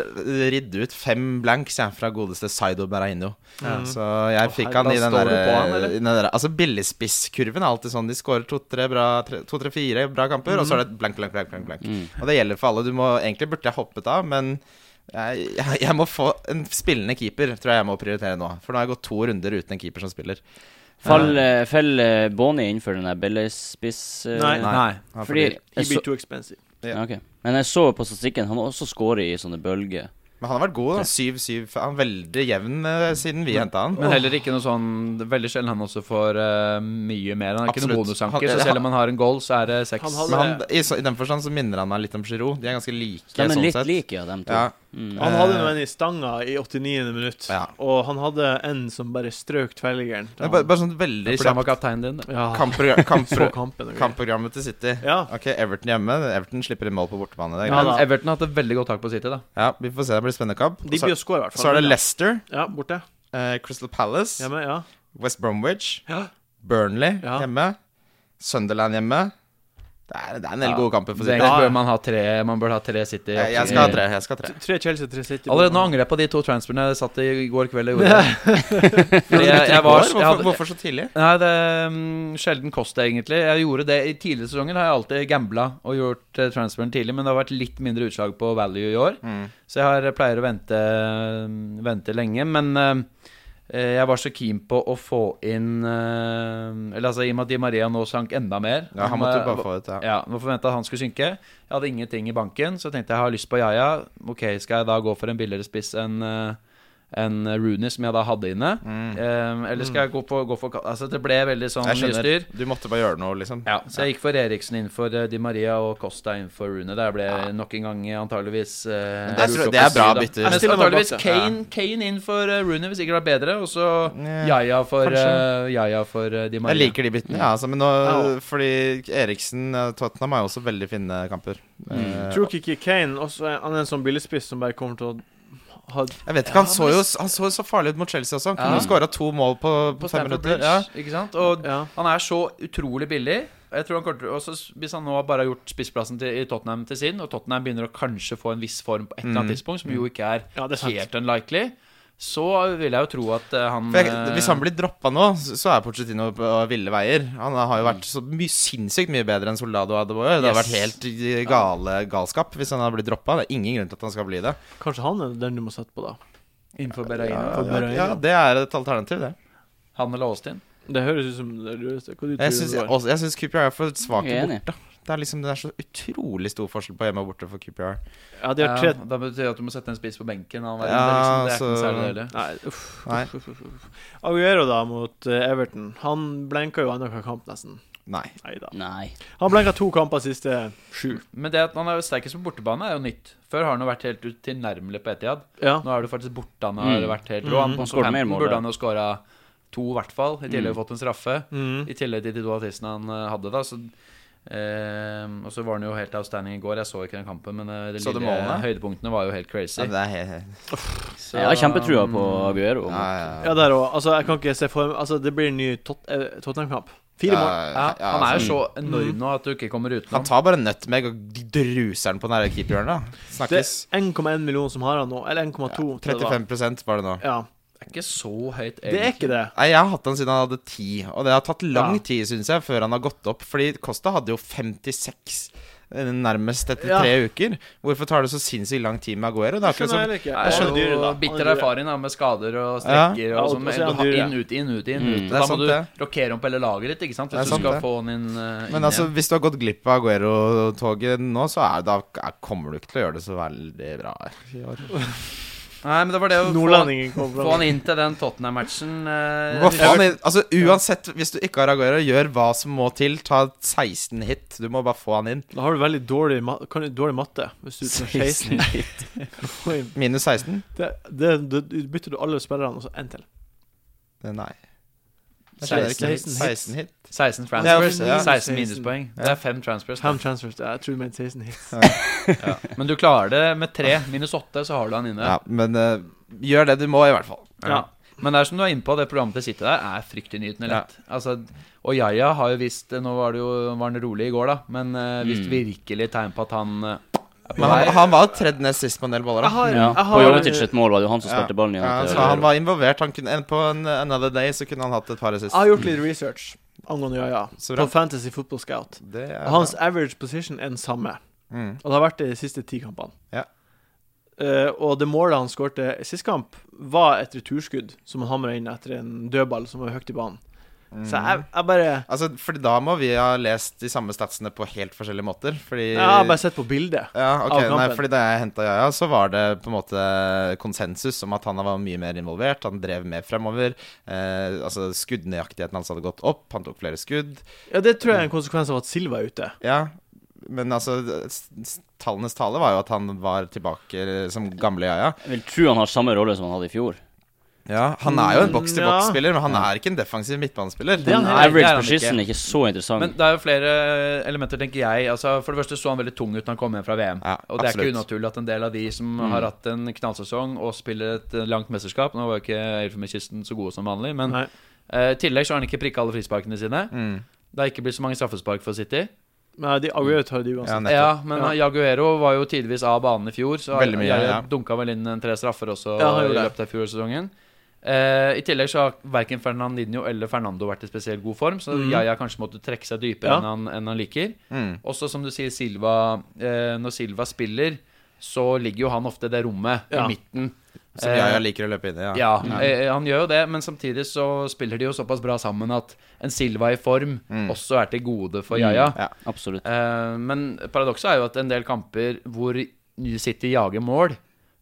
[SPEAKER 3] ridd ut fem blanks jeg, fra godeste Saido Berahino.
[SPEAKER 1] Mm.
[SPEAKER 3] Så jeg
[SPEAKER 1] Å,
[SPEAKER 3] fikk
[SPEAKER 1] herre,
[SPEAKER 3] han i
[SPEAKER 5] da
[SPEAKER 3] den
[SPEAKER 5] står du på han,
[SPEAKER 3] derre
[SPEAKER 5] eller?
[SPEAKER 3] der, Altså billigspisskurven er alltid sånn. De scorer to-tre bra tre- to-tre-fire bra kamper, og så
[SPEAKER 5] Mm.
[SPEAKER 3] er det et blank, blank, blank. blank, blank.
[SPEAKER 4] Mm.
[SPEAKER 3] Og det gjelder for alle. Du må, egentlig burde jeg hoppet av, men jeg, jeg, jeg må få en spillende keeper, tror jeg jeg må prioritere nå. For nå har jeg gått to runder uten en keeper som spiller.
[SPEAKER 4] Fall, eh, fell eh, Boni innenfor den der Bellespiss... eh,
[SPEAKER 1] Nei.
[SPEAKER 3] Nei.
[SPEAKER 4] Fordi,
[SPEAKER 3] Ja,
[SPEAKER 1] He
[SPEAKER 3] fordi-
[SPEAKER 4] jeg
[SPEAKER 1] be
[SPEAKER 4] så,
[SPEAKER 1] too expensive.
[SPEAKER 4] ja, ok. Men jeg så på statistikken, han har også scoret i sånne bølger.
[SPEAKER 3] Men han har vært god. da. Syv-syv. Han er veldig jevn eh, siden vi henta han.
[SPEAKER 5] Men heller ikke noe sånn Veldig sjelden han også får eh, mye mer. Han er ikke noen
[SPEAKER 3] Absolutt.
[SPEAKER 5] bonusanker,
[SPEAKER 3] Han-
[SPEAKER 5] så selv om han har en goal, så er det
[SPEAKER 1] Han
[SPEAKER 5] seks.
[SPEAKER 1] hadde-
[SPEAKER 3] Men han, i, så, I den forstand så minner han meg litt om Giroud. De er ganske like.
[SPEAKER 4] De er
[SPEAKER 3] sånn
[SPEAKER 4] litt
[SPEAKER 3] sett.
[SPEAKER 4] like, ja, de to.
[SPEAKER 3] Ja.
[SPEAKER 4] Mm.
[SPEAKER 1] Han hadde nå en i stanga i 89. minutt,
[SPEAKER 3] Ja.
[SPEAKER 1] og han hadde en som bare strøk tverrliggeren.
[SPEAKER 3] Men Bare, bare sånn veldig
[SPEAKER 5] For han var
[SPEAKER 3] kjapt.
[SPEAKER 5] kapteinen din. da.
[SPEAKER 1] Ja,
[SPEAKER 5] (laughs)
[SPEAKER 3] Kampprogra-
[SPEAKER 1] så
[SPEAKER 3] kampro-
[SPEAKER 1] kampen. og greier.
[SPEAKER 3] Kampprogrammet til City.
[SPEAKER 1] Ja.
[SPEAKER 3] Ok, Everton hjemme. Everton slipper inn mål på bortebane. Det
[SPEAKER 1] Ja,
[SPEAKER 3] er greit.
[SPEAKER 5] Men
[SPEAKER 1] da.
[SPEAKER 5] Everton har hatt et veldig godt tak på City, da.
[SPEAKER 3] Ja, vi får se. Det blir spennende kamp.
[SPEAKER 1] De
[SPEAKER 3] Så,
[SPEAKER 1] blir å score, i hvert fall.
[SPEAKER 3] så er det Leicester,
[SPEAKER 1] Ja, borte.
[SPEAKER 3] eh, Crystal Palace,
[SPEAKER 1] Hjemme, ja.
[SPEAKER 3] West Bromwich,
[SPEAKER 1] Ja.
[SPEAKER 3] Burnley
[SPEAKER 1] Ja.
[SPEAKER 3] hjemme, Sunderland hjemme. Det er, det er en del
[SPEAKER 5] Ja.
[SPEAKER 3] gode kamper for
[SPEAKER 5] Så
[SPEAKER 3] City.
[SPEAKER 5] egentlig bør man ha tre Man bør ha tre City.
[SPEAKER 3] Jeg, jeg skal ha tre. Jeg skal ha tre.
[SPEAKER 1] Tre Chelsea, tre City.
[SPEAKER 5] Allerede nå angrer jeg på de to transferene jeg satt i i går kveld og gjorde.
[SPEAKER 3] (laughs)
[SPEAKER 5] Fordi jeg, jeg var, jeg
[SPEAKER 3] hvorfor,
[SPEAKER 5] hadde,
[SPEAKER 3] hvorfor så tidlig?
[SPEAKER 5] nei, det er mm, sjelden kost, egentlig. Jeg gjorde det I tidligere sesonger har jeg alltid gambla og gjort eh, transferen tidlig, men det har vært litt mindre utslag på value i år.
[SPEAKER 3] Mm.
[SPEAKER 5] Så jeg har, eh, pleier å vente, mm, vente lenge. Men eh, jeg var så keen på å få inn eh, Eller altså, i og med at Di Maria nå sank enda mer eh,
[SPEAKER 3] Ja, han måtte bare få ut det.
[SPEAKER 5] ja, man forventa at han skulle synke. Jeg hadde ingenting i banken, så tenkte jeg jeg har lyst på Yaya. Ok, skal jeg da gå for en billigere spiss enn eh, enn Rooney, som jeg da hadde inne? Eh, eller skal jeg gå, på, gå for Ka- Altså, det ble veldig sånn
[SPEAKER 3] Mm. Jeg
[SPEAKER 5] mye styr.
[SPEAKER 3] skjønner. Du måtte bare gjøre noe, liksom.
[SPEAKER 5] Ja, så jeg gikk for Eriksen innenfor eh, Di Maria og Costa innenfor Rooney. Der ble nok en gang eh, antageligvis eh,
[SPEAKER 3] Men det tror jeg-
[SPEAKER 5] gjort
[SPEAKER 3] det er
[SPEAKER 5] opp i
[SPEAKER 3] bra
[SPEAKER 5] syd, da.
[SPEAKER 3] bytter.
[SPEAKER 5] Men
[SPEAKER 1] Jeg stiller meg
[SPEAKER 5] antageligvis
[SPEAKER 1] bak det.
[SPEAKER 5] Kane, Kane innenfor eh, Rooney vil sikkert være bedre, og så
[SPEAKER 3] Nja,
[SPEAKER 5] Yaya for,
[SPEAKER 3] kanskje.
[SPEAKER 5] eh, Yaya for eh, Di
[SPEAKER 3] Jeg
[SPEAKER 5] Maria.
[SPEAKER 3] Mm. liker de byttene, ja, altså, men nå,
[SPEAKER 1] Ja.
[SPEAKER 3] fordi Eriksen eh, Tottenham har jo også veldig fine kamper. Eh,
[SPEAKER 1] Tror ikke ikke Kane også er, han er en sånn billigspiss som bare kommer til å ha
[SPEAKER 3] Jeg vet ikke, Han så jo han så, jo så farlig ut mot Chelsea også. Han
[SPEAKER 5] Ja.
[SPEAKER 3] kunne jo skåra to mål på,
[SPEAKER 5] på
[SPEAKER 3] på fem
[SPEAKER 5] Stamford
[SPEAKER 3] minutter.
[SPEAKER 5] Bridge.
[SPEAKER 3] Ja.
[SPEAKER 5] Ikke sant? Og
[SPEAKER 1] Ja.
[SPEAKER 5] han er så utrolig billig. Og Jeg tror han kommer til, også, s- Hvis han nå bare har gjort spissplassen til, i Tottenham
[SPEAKER 3] Mm.
[SPEAKER 5] til sin, og Tottenham begynner å kanskje få en viss form på et eller annet tidspunkt, som jo ikke er
[SPEAKER 1] Ja, det er sant.
[SPEAKER 5] helt unlikely, så vil jeg jo tro at eh, han
[SPEAKER 3] For jeg,
[SPEAKER 5] eh,
[SPEAKER 3] hvis han blir droppa nå, så så er Pochettino på ville veier. Han har jo vært så my sinnssykt mye bedre enn Soldado Adebayor. Det hadde vært
[SPEAKER 5] Yes.
[SPEAKER 3] helt gale galskap hvis han hadde blitt droppa. Det er ingen grunn til at han skal bli det.
[SPEAKER 1] Kanskje han er den du må sette på, da.
[SPEAKER 5] eh, Innenfor Berreino.
[SPEAKER 1] For Berreino.
[SPEAKER 3] Ja, det er et alternativ, det.
[SPEAKER 5] Han eller Austin.
[SPEAKER 1] Det høres ut som det lureste. Hva du tror
[SPEAKER 3] Jeg syns,
[SPEAKER 1] det var?
[SPEAKER 3] også, jeg syns QPR er for svake
[SPEAKER 4] Jeg er enig.
[SPEAKER 3] borte. Det er liksom, det er så utrolig stor forskjell på hjemme og borte for QPR.
[SPEAKER 1] Ja, de har
[SPEAKER 5] Ja,
[SPEAKER 1] tre
[SPEAKER 5] Eh, da betyr det at du må sette en spiss på benken. Han var,
[SPEAKER 3] Ja,
[SPEAKER 5] det er liksom, det er ikke
[SPEAKER 3] så-
[SPEAKER 5] noe særlig deilig.
[SPEAKER 1] Nei, uff.
[SPEAKER 5] (laughs)
[SPEAKER 3] Nei.
[SPEAKER 1] uff, uff, uff, uff. Aguero, da, mot eh, Everton. Han blenka jo annenhver kamp, nesten.
[SPEAKER 3] Nei.
[SPEAKER 1] Nei da.
[SPEAKER 4] Nei.
[SPEAKER 1] Han blenka to kamper siste sju.
[SPEAKER 5] Men det at han er sterkest på bortebane, er jo nytt. Før har han jo vært helt utilnærmelig på Etiad.
[SPEAKER 1] Ja.
[SPEAKER 5] Nå er det faktisk borte han har
[SPEAKER 4] Mm.
[SPEAKER 5] vært helt rå. Han,
[SPEAKER 4] Han
[SPEAKER 5] på
[SPEAKER 4] skårte mer
[SPEAKER 5] 15
[SPEAKER 4] mål,
[SPEAKER 5] burde
[SPEAKER 4] da.
[SPEAKER 5] han jo skåra to, i hvert fall. I tillegg fått en straffe.
[SPEAKER 1] Mm.
[SPEAKER 5] I tillegg til de to assistene han eh, hadde, da. Så, eh, og så var han jo helt outstanding i går. Jeg så ikke den kampen, men eh, det
[SPEAKER 3] Så du
[SPEAKER 5] lille
[SPEAKER 3] målene?
[SPEAKER 5] høydepunktene var jo helt
[SPEAKER 3] Ja,
[SPEAKER 5] crazy.
[SPEAKER 3] det er helt,
[SPEAKER 5] Så-
[SPEAKER 4] Jeg har kjempetrua på Aguero.
[SPEAKER 3] ja, ja, ja.
[SPEAKER 1] Ja, der òg. Altså, jeg kan ikke se for meg Altså, det blir en ny Tot eh, Tottenham-kamp. Fire mål.
[SPEAKER 5] ja, mm. Han er jo
[SPEAKER 3] altså,
[SPEAKER 5] så enorm nå at du ikke kommer utenom.
[SPEAKER 3] Han tar bare nutmeg og druser den på nære keeperhjørnet. da.
[SPEAKER 1] Det
[SPEAKER 3] Snakkes.
[SPEAKER 1] er 1,1 million som har han nå. Eller 1,2. tror jeg det var.
[SPEAKER 3] 35 var det nå.
[SPEAKER 1] Ja.
[SPEAKER 5] Det er ikke så høyt,
[SPEAKER 1] Det er ikke det.
[SPEAKER 3] Nei, Jeg har hatt han siden han hadde ti, og det har tatt lang
[SPEAKER 1] Ja.
[SPEAKER 3] tid, syns jeg, før han har gått opp. Fordi Costa hadde jo 56 eh, nærmest etter
[SPEAKER 1] Ja.
[SPEAKER 3] tre uker. Hvorfor tar det så sinnssykt lang tid med Aguero? Det er akkurat som
[SPEAKER 1] heller ikke.
[SPEAKER 5] Jeg
[SPEAKER 1] Han er
[SPEAKER 5] skjønner
[SPEAKER 1] dyr, da.
[SPEAKER 5] jo
[SPEAKER 1] Han er
[SPEAKER 5] bitter
[SPEAKER 1] dyr.
[SPEAKER 5] erfaring da, med skader og
[SPEAKER 3] Ja. Mm,
[SPEAKER 5] strekker
[SPEAKER 1] Ja,
[SPEAKER 5] og
[SPEAKER 1] og- og
[SPEAKER 5] sånn.
[SPEAKER 1] så
[SPEAKER 5] men
[SPEAKER 1] er
[SPEAKER 5] Du
[SPEAKER 1] han
[SPEAKER 5] har
[SPEAKER 1] dyr, ja.
[SPEAKER 5] inn, ut, inn, ut, inn. ut.
[SPEAKER 3] Det er
[SPEAKER 5] Da må
[SPEAKER 3] sant,
[SPEAKER 5] du
[SPEAKER 3] det.
[SPEAKER 5] rokere om på hele laget ditt ikke sant?
[SPEAKER 3] Det er
[SPEAKER 5] hvis du
[SPEAKER 3] sant,
[SPEAKER 5] skal
[SPEAKER 3] det.
[SPEAKER 5] få han inn, eh, inn
[SPEAKER 3] Men altså,
[SPEAKER 5] igjen.
[SPEAKER 3] hvis du har gått glipp av Aguero-toget nå, så er, da er, kommer du ikke til å gjøre det så veldig bra i år.
[SPEAKER 5] Nei, men det var det å få,
[SPEAKER 1] Nordlendingen kom
[SPEAKER 5] få
[SPEAKER 1] fram.
[SPEAKER 5] han inn til den Tottenham-matchen. eh,
[SPEAKER 3] Hva faen, er- altså Uansett, hvis du ikke har Aguero, gjør hva som må til. Ta 16 hit. Du må bare få han inn.
[SPEAKER 1] Da har du veldig dårlig, ma kan du, dårlig matte. Hvis du tar 16
[SPEAKER 5] (laughs)
[SPEAKER 1] poeng.
[SPEAKER 3] Minus 16?
[SPEAKER 1] Det, det, det, du bytter du alle spillerne, og så én til.
[SPEAKER 3] Eh, Nei. Jeg skjønner ikke.
[SPEAKER 5] 16 hit.
[SPEAKER 3] 16 hit.
[SPEAKER 5] 16 transfers,
[SPEAKER 3] Ja, ja.
[SPEAKER 5] 16 minuspoeng. Det er fem transfers.
[SPEAKER 1] Fem transfers. Jeg tror du mente 16 hits.
[SPEAKER 5] Ja. Men du klarer det med tre. Minus åtte, så har du han inne.
[SPEAKER 3] Ja, men eh, gjør det du må, i hvert fall.
[SPEAKER 5] Ja. Men det er som du er inne på, det programmet til City der er fryktelig nytende lett. Altså, og Yaya har jo visst Nå var, det jo, var han rolig i går, da, men uh, visst virkelig tegn på at han eh, er på
[SPEAKER 3] Mm. Men han,
[SPEAKER 5] vei.
[SPEAKER 3] han var jo tredje nest sist på en del baller.
[SPEAKER 1] Jeg
[SPEAKER 3] Da.
[SPEAKER 1] har,
[SPEAKER 4] Ja.
[SPEAKER 1] jeg
[SPEAKER 4] På
[SPEAKER 1] har
[SPEAKER 4] Jovetic sitt mål var det jo han som spilte ballen
[SPEAKER 3] Ja,
[SPEAKER 4] igjen.
[SPEAKER 3] så han var involvert. Han kunne, på en, another day så kunne han hatt et par assist.
[SPEAKER 1] Jeg har gjort litt research angående Jaja
[SPEAKER 3] Så
[SPEAKER 1] på
[SPEAKER 3] bra.
[SPEAKER 1] Fantasy Football Scout.
[SPEAKER 3] Det er
[SPEAKER 1] Og hans average position er den samme.
[SPEAKER 3] Mm.
[SPEAKER 1] Og det har vært det de siste ti kampene.
[SPEAKER 3] Ja.
[SPEAKER 1] Eh, og det målet han skårte sist kamp, var et returskudd som han hamra inn etter en dødball som var høyt i banen. Så
[SPEAKER 5] Mm.
[SPEAKER 1] jeg, jeg bare Jeg
[SPEAKER 3] mm. Altså, fordi da må vi ha lest de samme statsene på helt forskjellige måter. Fordi
[SPEAKER 1] har bare sett på bildet.
[SPEAKER 3] Ja,
[SPEAKER 1] av
[SPEAKER 3] ok, nei,
[SPEAKER 1] kampen.
[SPEAKER 3] fordi Da jeg henta Jaja, så var det på en måte konsensus om at han var mye mer involvert. Han drev mer fremover. Eh, altså Skuddnøyaktigheten hans hadde gått opp. Han tok flere skudd.
[SPEAKER 1] Ja, Det tror jeg er en konsekvens av at Silva er ute.
[SPEAKER 3] Ja, Men altså s- s- tallenes tale var jo at han var tilbake eh, som gamle Jaja.
[SPEAKER 4] Jeg vil tro han har samme rolle som han hadde i fjor.
[SPEAKER 3] Ja, Han er jo en
[SPEAKER 1] Mm,
[SPEAKER 3] boks-til-boks-spiller, men han er ikke en defensiv midtbanespiller.
[SPEAKER 1] Det er han
[SPEAKER 5] Nei, det er
[SPEAKER 4] Average
[SPEAKER 5] han
[SPEAKER 4] på skissen
[SPEAKER 5] ikke.
[SPEAKER 4] er ikke så interessant.
[SPEAKER 5] Men det er jo flere eh, elementer, tenker jeg. Altså, for det første så han veldig tung ut når han kom hjem fra VM.
[SPEAKER 3] Ja,
[SPEAKER 5] og det er ikke
[SPEAKER 3] absolutt. Mm.
[SPEAKER 5] unaturlig at en del av de som har hatt en knallsesong og spiller et eh, langt mesterskap Nå var jo ikke Elfenbenskysten så gode som vanlig, men
[SPEAKER 1] Nei.
[SPEAKER 5] eh, i tillegg så har han ikke prikka alle frisparkene sine.
[SPEAKER 3] Mm.
[SPEAKER 5] Det har ikke blitt så mange straffespark for City.
[SPEAKER 1] Men de Aguero tar de
[SPEAKER 3] Ja,
[SPEAKER 1] uansett.
[SPEAKER 5] Mm.
[SPEAKER 3] nettopp.
[SPEAKER 5] Ja, men
[SPEAKER 1] Ja.
[SPEAKER 5] Jaguero var jo tidvis av banen i fjor, så
[SPEAKER 3] Veldig mye,
[SPEAKER 5] jeg
[SPEAKER 3] ja.
[SPEAKER 5] dunka vel inn en tre straffer også
[SPEAKER 1] Ja, han
[SPEAKER 5] i
[SPEAKER 1] gjorde det.
[SPEAKER 5] løpet av fjorårssesongen. Eh, I tillegg så har verken Fernandinho eller Fernando vært i spesielt god form, så
[SPEAKER 1] Mhm.
[SPEAKER 5] Yaya kanskje måtte trekke seg dypere
[SPEAKER 1] Ja.
[SPEAKER 5] enn, han, enn han liker.
[SPEAKER 3] Mm.
[SPEAKER 5] Også som du sier, Silva eh, når Silva spiller, så ligger jo han ofte i det rommet
[SPEAKER 1] Ja.
[SPEAKER 5] i midten.
[SPEAKER 3] Som
[SPEAKER 5] Eh,
[SPEAKER 3] Jaja liker å løpe inn i. Ja.
[SPEAKER 5] Ja, eh, han gjør jo det, men samtidig så spiller de jo såpass bra sammen at en Silva i form
[SPEAKER 3] Mm.
[SPEAKER 5] også er til gode for Yaya.
[SPEAKER 3] Ja.
[SPEAKER 4] Absolutt.
[SPEAKER 5] Eh, men paradokset er jo at en del kamper hvor New City jager mål,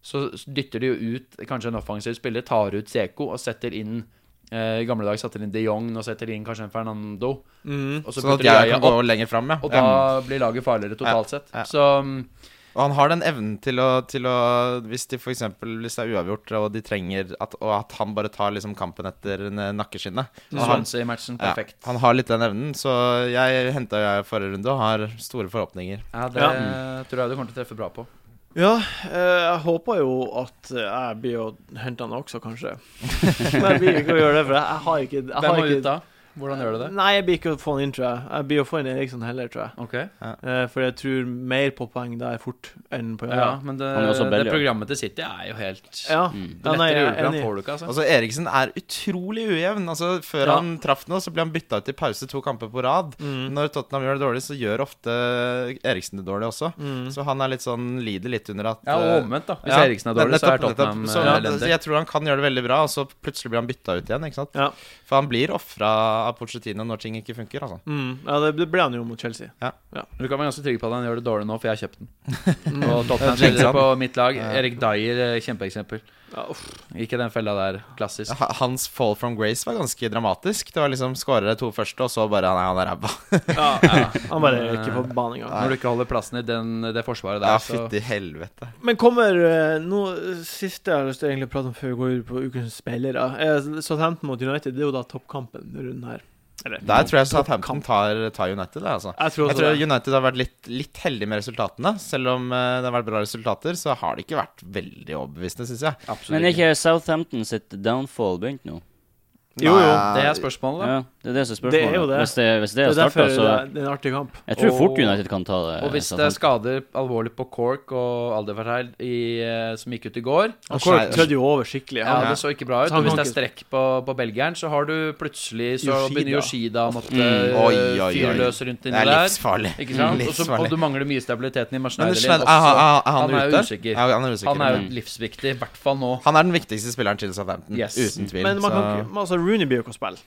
[SPEAKER 5] så dytter de jo ut kanskje en offensiv spiller, tar ut Seko og setter inn eh, I gamle dager satte de inn de Jong, nå setter de inn kanskje en Fernando.
[SPEAKER 1] Mhm.
[SPEAKER 5] Og så
[SPEAKER 3] Sånn at
[SPEAKER 5] putter de
[SPEAKER 3] Jaja
[SPEAKER 5] Yaya
[SPEAKER 3] kan
[SPEAKER 5] opp,
[SPEAKER 3] gå lenger fram, ja.
[SPEAKER 5] og
[SPEAKER 3] Ja.
[SPEAKER 5] da blir laget farligere totalt sett.
[SPEAKER 3] ja.
[SPEAKER 5] Så mm,
[SPEAKER 3] Og han har den evnen til å, til å Hvis de for eksempel, hvis det er uavgjort og de trenger at, Og at han bare tar liksom kampen etter n- nakkeskinnet. Og han,
[SPEAKER 5] Swansea-matchen,
[SPEAKER 3] Sånn. ja,
[SPEAKER 5] perfekt.
[SPEAKER 3] han har litt den evnen, så jeg henta jo jeg i forrige runde og har store forhåpninger.
[SPEAKER 5] Ja, det Mm. tror jeg du kommer til å treffe bra på.
[SPEAKER 1] Ja, eh, jeg håper jo at eh, jeg
[SPEAKER 5] (laughs)
[SPEAKER 1] blir å hente han også, kanskje. Men jeg blir ikke å gjøre det, for jeg jeg har ikke, jeg
[SPEAKER 5] Hvem
[SPEAKER 1] har
[SPEAKER 5] må ut
[SPEAKER 1] ikke
[SPEAKER 5] da? Hvordan gjør du det?
[SPEAKER 1] Nei, jeg blir ikke å få han inn, tror jeg. Jeg blir å få inn Eriksson heller, tror jeg.
[SPEAKER 5] Ok
[SPEAKER 1] Eh, for jeg tror mer på poeng der fort enn på
[SPEAKER 5] Ja, men det,
[SPEAKER 4] Han er også
[SPEAKER 5] det
[SPEAKER 4] Belgia.
[SPEAKER 5] programmet til City er jo helt
[SPEAKER 1] Ja.
[SPEAKER 4] Mm.
[SPEAKER 1] ja nei, jeg er
[SPEAKER 5] juleplan
[SPEAKER 1] enig.
[SPEAKER 5] får du ikke, altså.
[SPEAKER 3] Altså Eriksen er utrolig ujevn. Altså Før
[SPEAKER 5] Ja.
[SPEAKER 3] han traff nå, så ble han bytta ut i pause to kamper på rad.
[SPEAKER 1] Mm.
[SPEAKER 3] Når Tottenham gjør det dårlig, så gjør ofte Eriksen det dårlig også.
[SPEAKER 1] Mm.
[SPEAKER 3] Så han er litt sånn lider litt under at
[SPEAKER 5] Ja,
[SPEAKER 3] eh,
[SPEAKER 5] og omvendt, da. Hvis
[SPEAKER 3] ja,
[SPEAKER 5] Eriksen er dårlig, så er
[SPEAKER 3] nettopp,
[SPEAKER 5] Tottenham
[SPEAKER 3] nettopp.
[SPEAKER 5] eh,
[SPEAKER 3] så, så
[SPEAKER 5] elendig.
[SPEAKER 3] Jeg tror han kan gjøre det veldig bra, og så plutselig blir han bytta ut igjen. Ikke sant?
[SPEAKER 1] Ja.
[SPEAKER 3] For han blir ofra av Pochettino når ting ikke funker. Altså.
[SPEAKER 1] Mm. ja, det ble- ble han jo mot Chelsea.
[SPEAKER 5] Du kan være ganske trygg på at han gjør det dårlig nå, for jeg har kjøpt den.
[SPEAKER 1] Mm.
[SPEAKER 5] Og Tottenham
[SPEAKER 3] Ja, ikke
[SPEAKER 5] spiller
[SPEAKER 3] sant?
[SPEAKER 5] på mitt lag.
[SPEAKER 3] Ja.
[SPEAKER 5] Erik Dyer, eh, kjempeeksempel.
[SPEAKER 1] Ja, uff.
[SPEAKER 5] Ikke den fella der, klassisk.
[SPEAKER 3] Ha- Hans fall from grace var ganske dramatisk. Det var liksom skårer de to første, og så bare Nei, han er ræva.
[SPEAKER 1] Ja,
[SPEAKER 5] (laughs)
[SPEAKER 1] ja. Han bare er ikke
[SPEAKER 5] eh,
[SPEAKER 1] på banen engang.
[SPEAKER 5] Når du ikke holder plassen i den, det forsvaret
[SPEAKER 3] Ja,
[SPEAKER 5] der, så
[SPEAKER 3] fytti helvete.
[SPEAKER 1] Men kommer eh, noe siste jeg har lyst til å egentlig prate om før vi går over på ukens spillere. Eh, Southampton mot United, det er jo da toppkampen denne runden her. Eller,
[SPEAKER 3] Der tror jeg Southampton tar, tar United, det, altså.
[SPEAKER 1] Jeg tror
[SPEAKER 3] Jeg
[SPEAKER 1] også
[SPEAKER 3] tror
[SPEAKER 1] det.
[SPEAKER 3] United har vært litt, litt heldig med resultatene. Selv om eh, det har vært bra resultater, så har det ikke vært veldig overbevisende, syns jeg.
[SPEAKER 5] absolutt
[SPEAKER 4] Men er
[SPEAKER 5] ikke.
[SPEAKER 4] ikke Southampton sitt downfall begynt nå?
[SPEAKER 1] Jo, jo.
[SPEAKER 3] Nei,
[SPEAKER 5] Det er spørsmålet, da.
[SPEAKER 4] Ja, det er det som er spørsmålet.
[SPEAKER 1] Det er jo det.
[SPEAKER 4] Hvis det, hvis det,
[SPEAKER 1] Det er
[SPEAKER 4] starter,
[SPEAKER 1] derfor det
[SPEAKER 4] så
[SPEAKER 1] er, det er en artig kamp.
[SPEAKER 4] Jeg tror
[SPEAKER 5] Og-
[SPEAKER 4] fort United kan ta det.
[SPEAKER 5] Og hvis det er
[SPEAKER 4] Southampton.
[SPEAKER 5] skader alvorlig på Cork og Alderferheil som gikk ut i går
[SPEAKER 3] Og
[SPEAKER 1] Og Cork
[SPEAKER 3] Shire-
[SPEAKER 1] trødde jo over skikkelig.
[SPEAKER 5] Ja,
[SPEAKER 1] Han,
[SPEAKER 5] det så ikke bra ut.
[SPEAKER 1] Så han
[SPEAKER 5] Og hvis
[SPEAKER 1] kan
[SPEAKER 5] det er strekk på, på belgieren, så har du plutselig Så
[SPEAKER 1] Yoshida.
[SPEAKER 5] begynner Yoshida å måtte
[SPEAKER 4] Mm.
[SPEAKER 3] Oi,
[SPEAKER 5] eh,
[SPEAKER 3] oi, oi.
[SPEAKER 5] fyre løs rundt
[SPEAKER 3] det
[SPEAKER 5] inni
[SPEAKER 3] er
[SPEAKER 5] der.
[SPEAKER 3] livsfarlig.
[SPEAKER 5] Ikke sant? Og så- og
[SPEAKER 3] Mm, livsfarlig.
[SPEAKER 5] du mangler mye stabiliteten i
[SPEAKER 3] Men Ah,
[SPEAKER 5] maskineriet.
[SPEAKER 3] det er, er, er, er han,
[SPEAKER 5] Han er
[SPEAKER 3] ute?
[SPEAKER 5] usikker.
[SPEAKER 3] Ja, han er usikker.
[SPEAKER 5] Han er
[SPEAKER 4] Mm.
[SPEAKER 5] jo livsviktig, i hvert fall nå.
[SPEAKER 3] Han er den viktigste spilleren til Southampton,
[SPEAKER 5] Yes.
[SPEAKER 3] uten tvil.
[SPEAKER 1] men man kan
[SPEAKER 3] så-
[SPEAKER 1] ikke men altså, Rooney blir jo ikke å spille.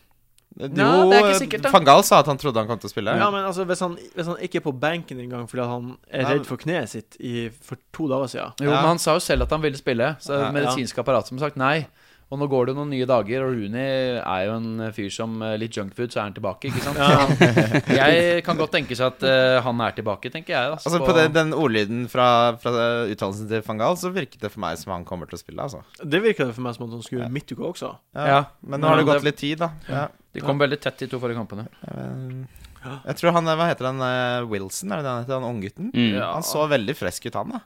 [SPEAKER 3] Jo,
[SPEAKER 5] Nei, det er ikke sikkert, da.
[SPEAKER 3] Van Gaal sa at han trodde han kom til å spille.
[SPEAKER 1] Ja, men altså, hvis han, hvis han ikke er på benken engang fordi at han er
[SPEAKER 3] Nei, men-
[SPEAKER 1] redd for kneet sitt i, for to dager siden
[SPEAKER 5] Jo,
[SPEAKER 3] Ja.
[SPEAKER 5] men han sa jo selv at han ville spille. Så
[SPEAKER 3] Ja.
[SPEAKER 5] medisinsk apparat som sagt nei. Og nå går det noen nye dager, og Rooney er jo en fyr som eh, litt junkfood, så er han tilbake, ikke
[SPEAKER 3] (laughs)
[SPEAKER 5] sant? (laughs) Jeg kan godt tenke seg at eh, han er tilbake, tenker jeg. da.
[SPEAKER 3] Altså På den, den ordlyden fra, fra uttalelsen til van Gaal, så virket det for meg som han kommer til å spille. altså
[SPEAKER 1] Det virker det for meg som at han skulle midtuke også.
[SPEAKER 5] Ja.
[SPEAKER 3] Men nå har det
[SPEAKER 5] Men
[SPEAKER 3] gått
[SPEAKER 5] det-
[SPEAKER 3] litt tid, da. Ja.
[SPEAKER 5] De kom veldig tett, de to forrige kampene.
[SPEAKER 3] Eh, Jeg tror han, Hva heter han? eh, Wilson, er det det han heter? Han unggutten?
[SPEAKER 4] Mm.
[SPEAKER 5] Ja.
[SPEAKER 3] Han så veldig frisk ut, han. da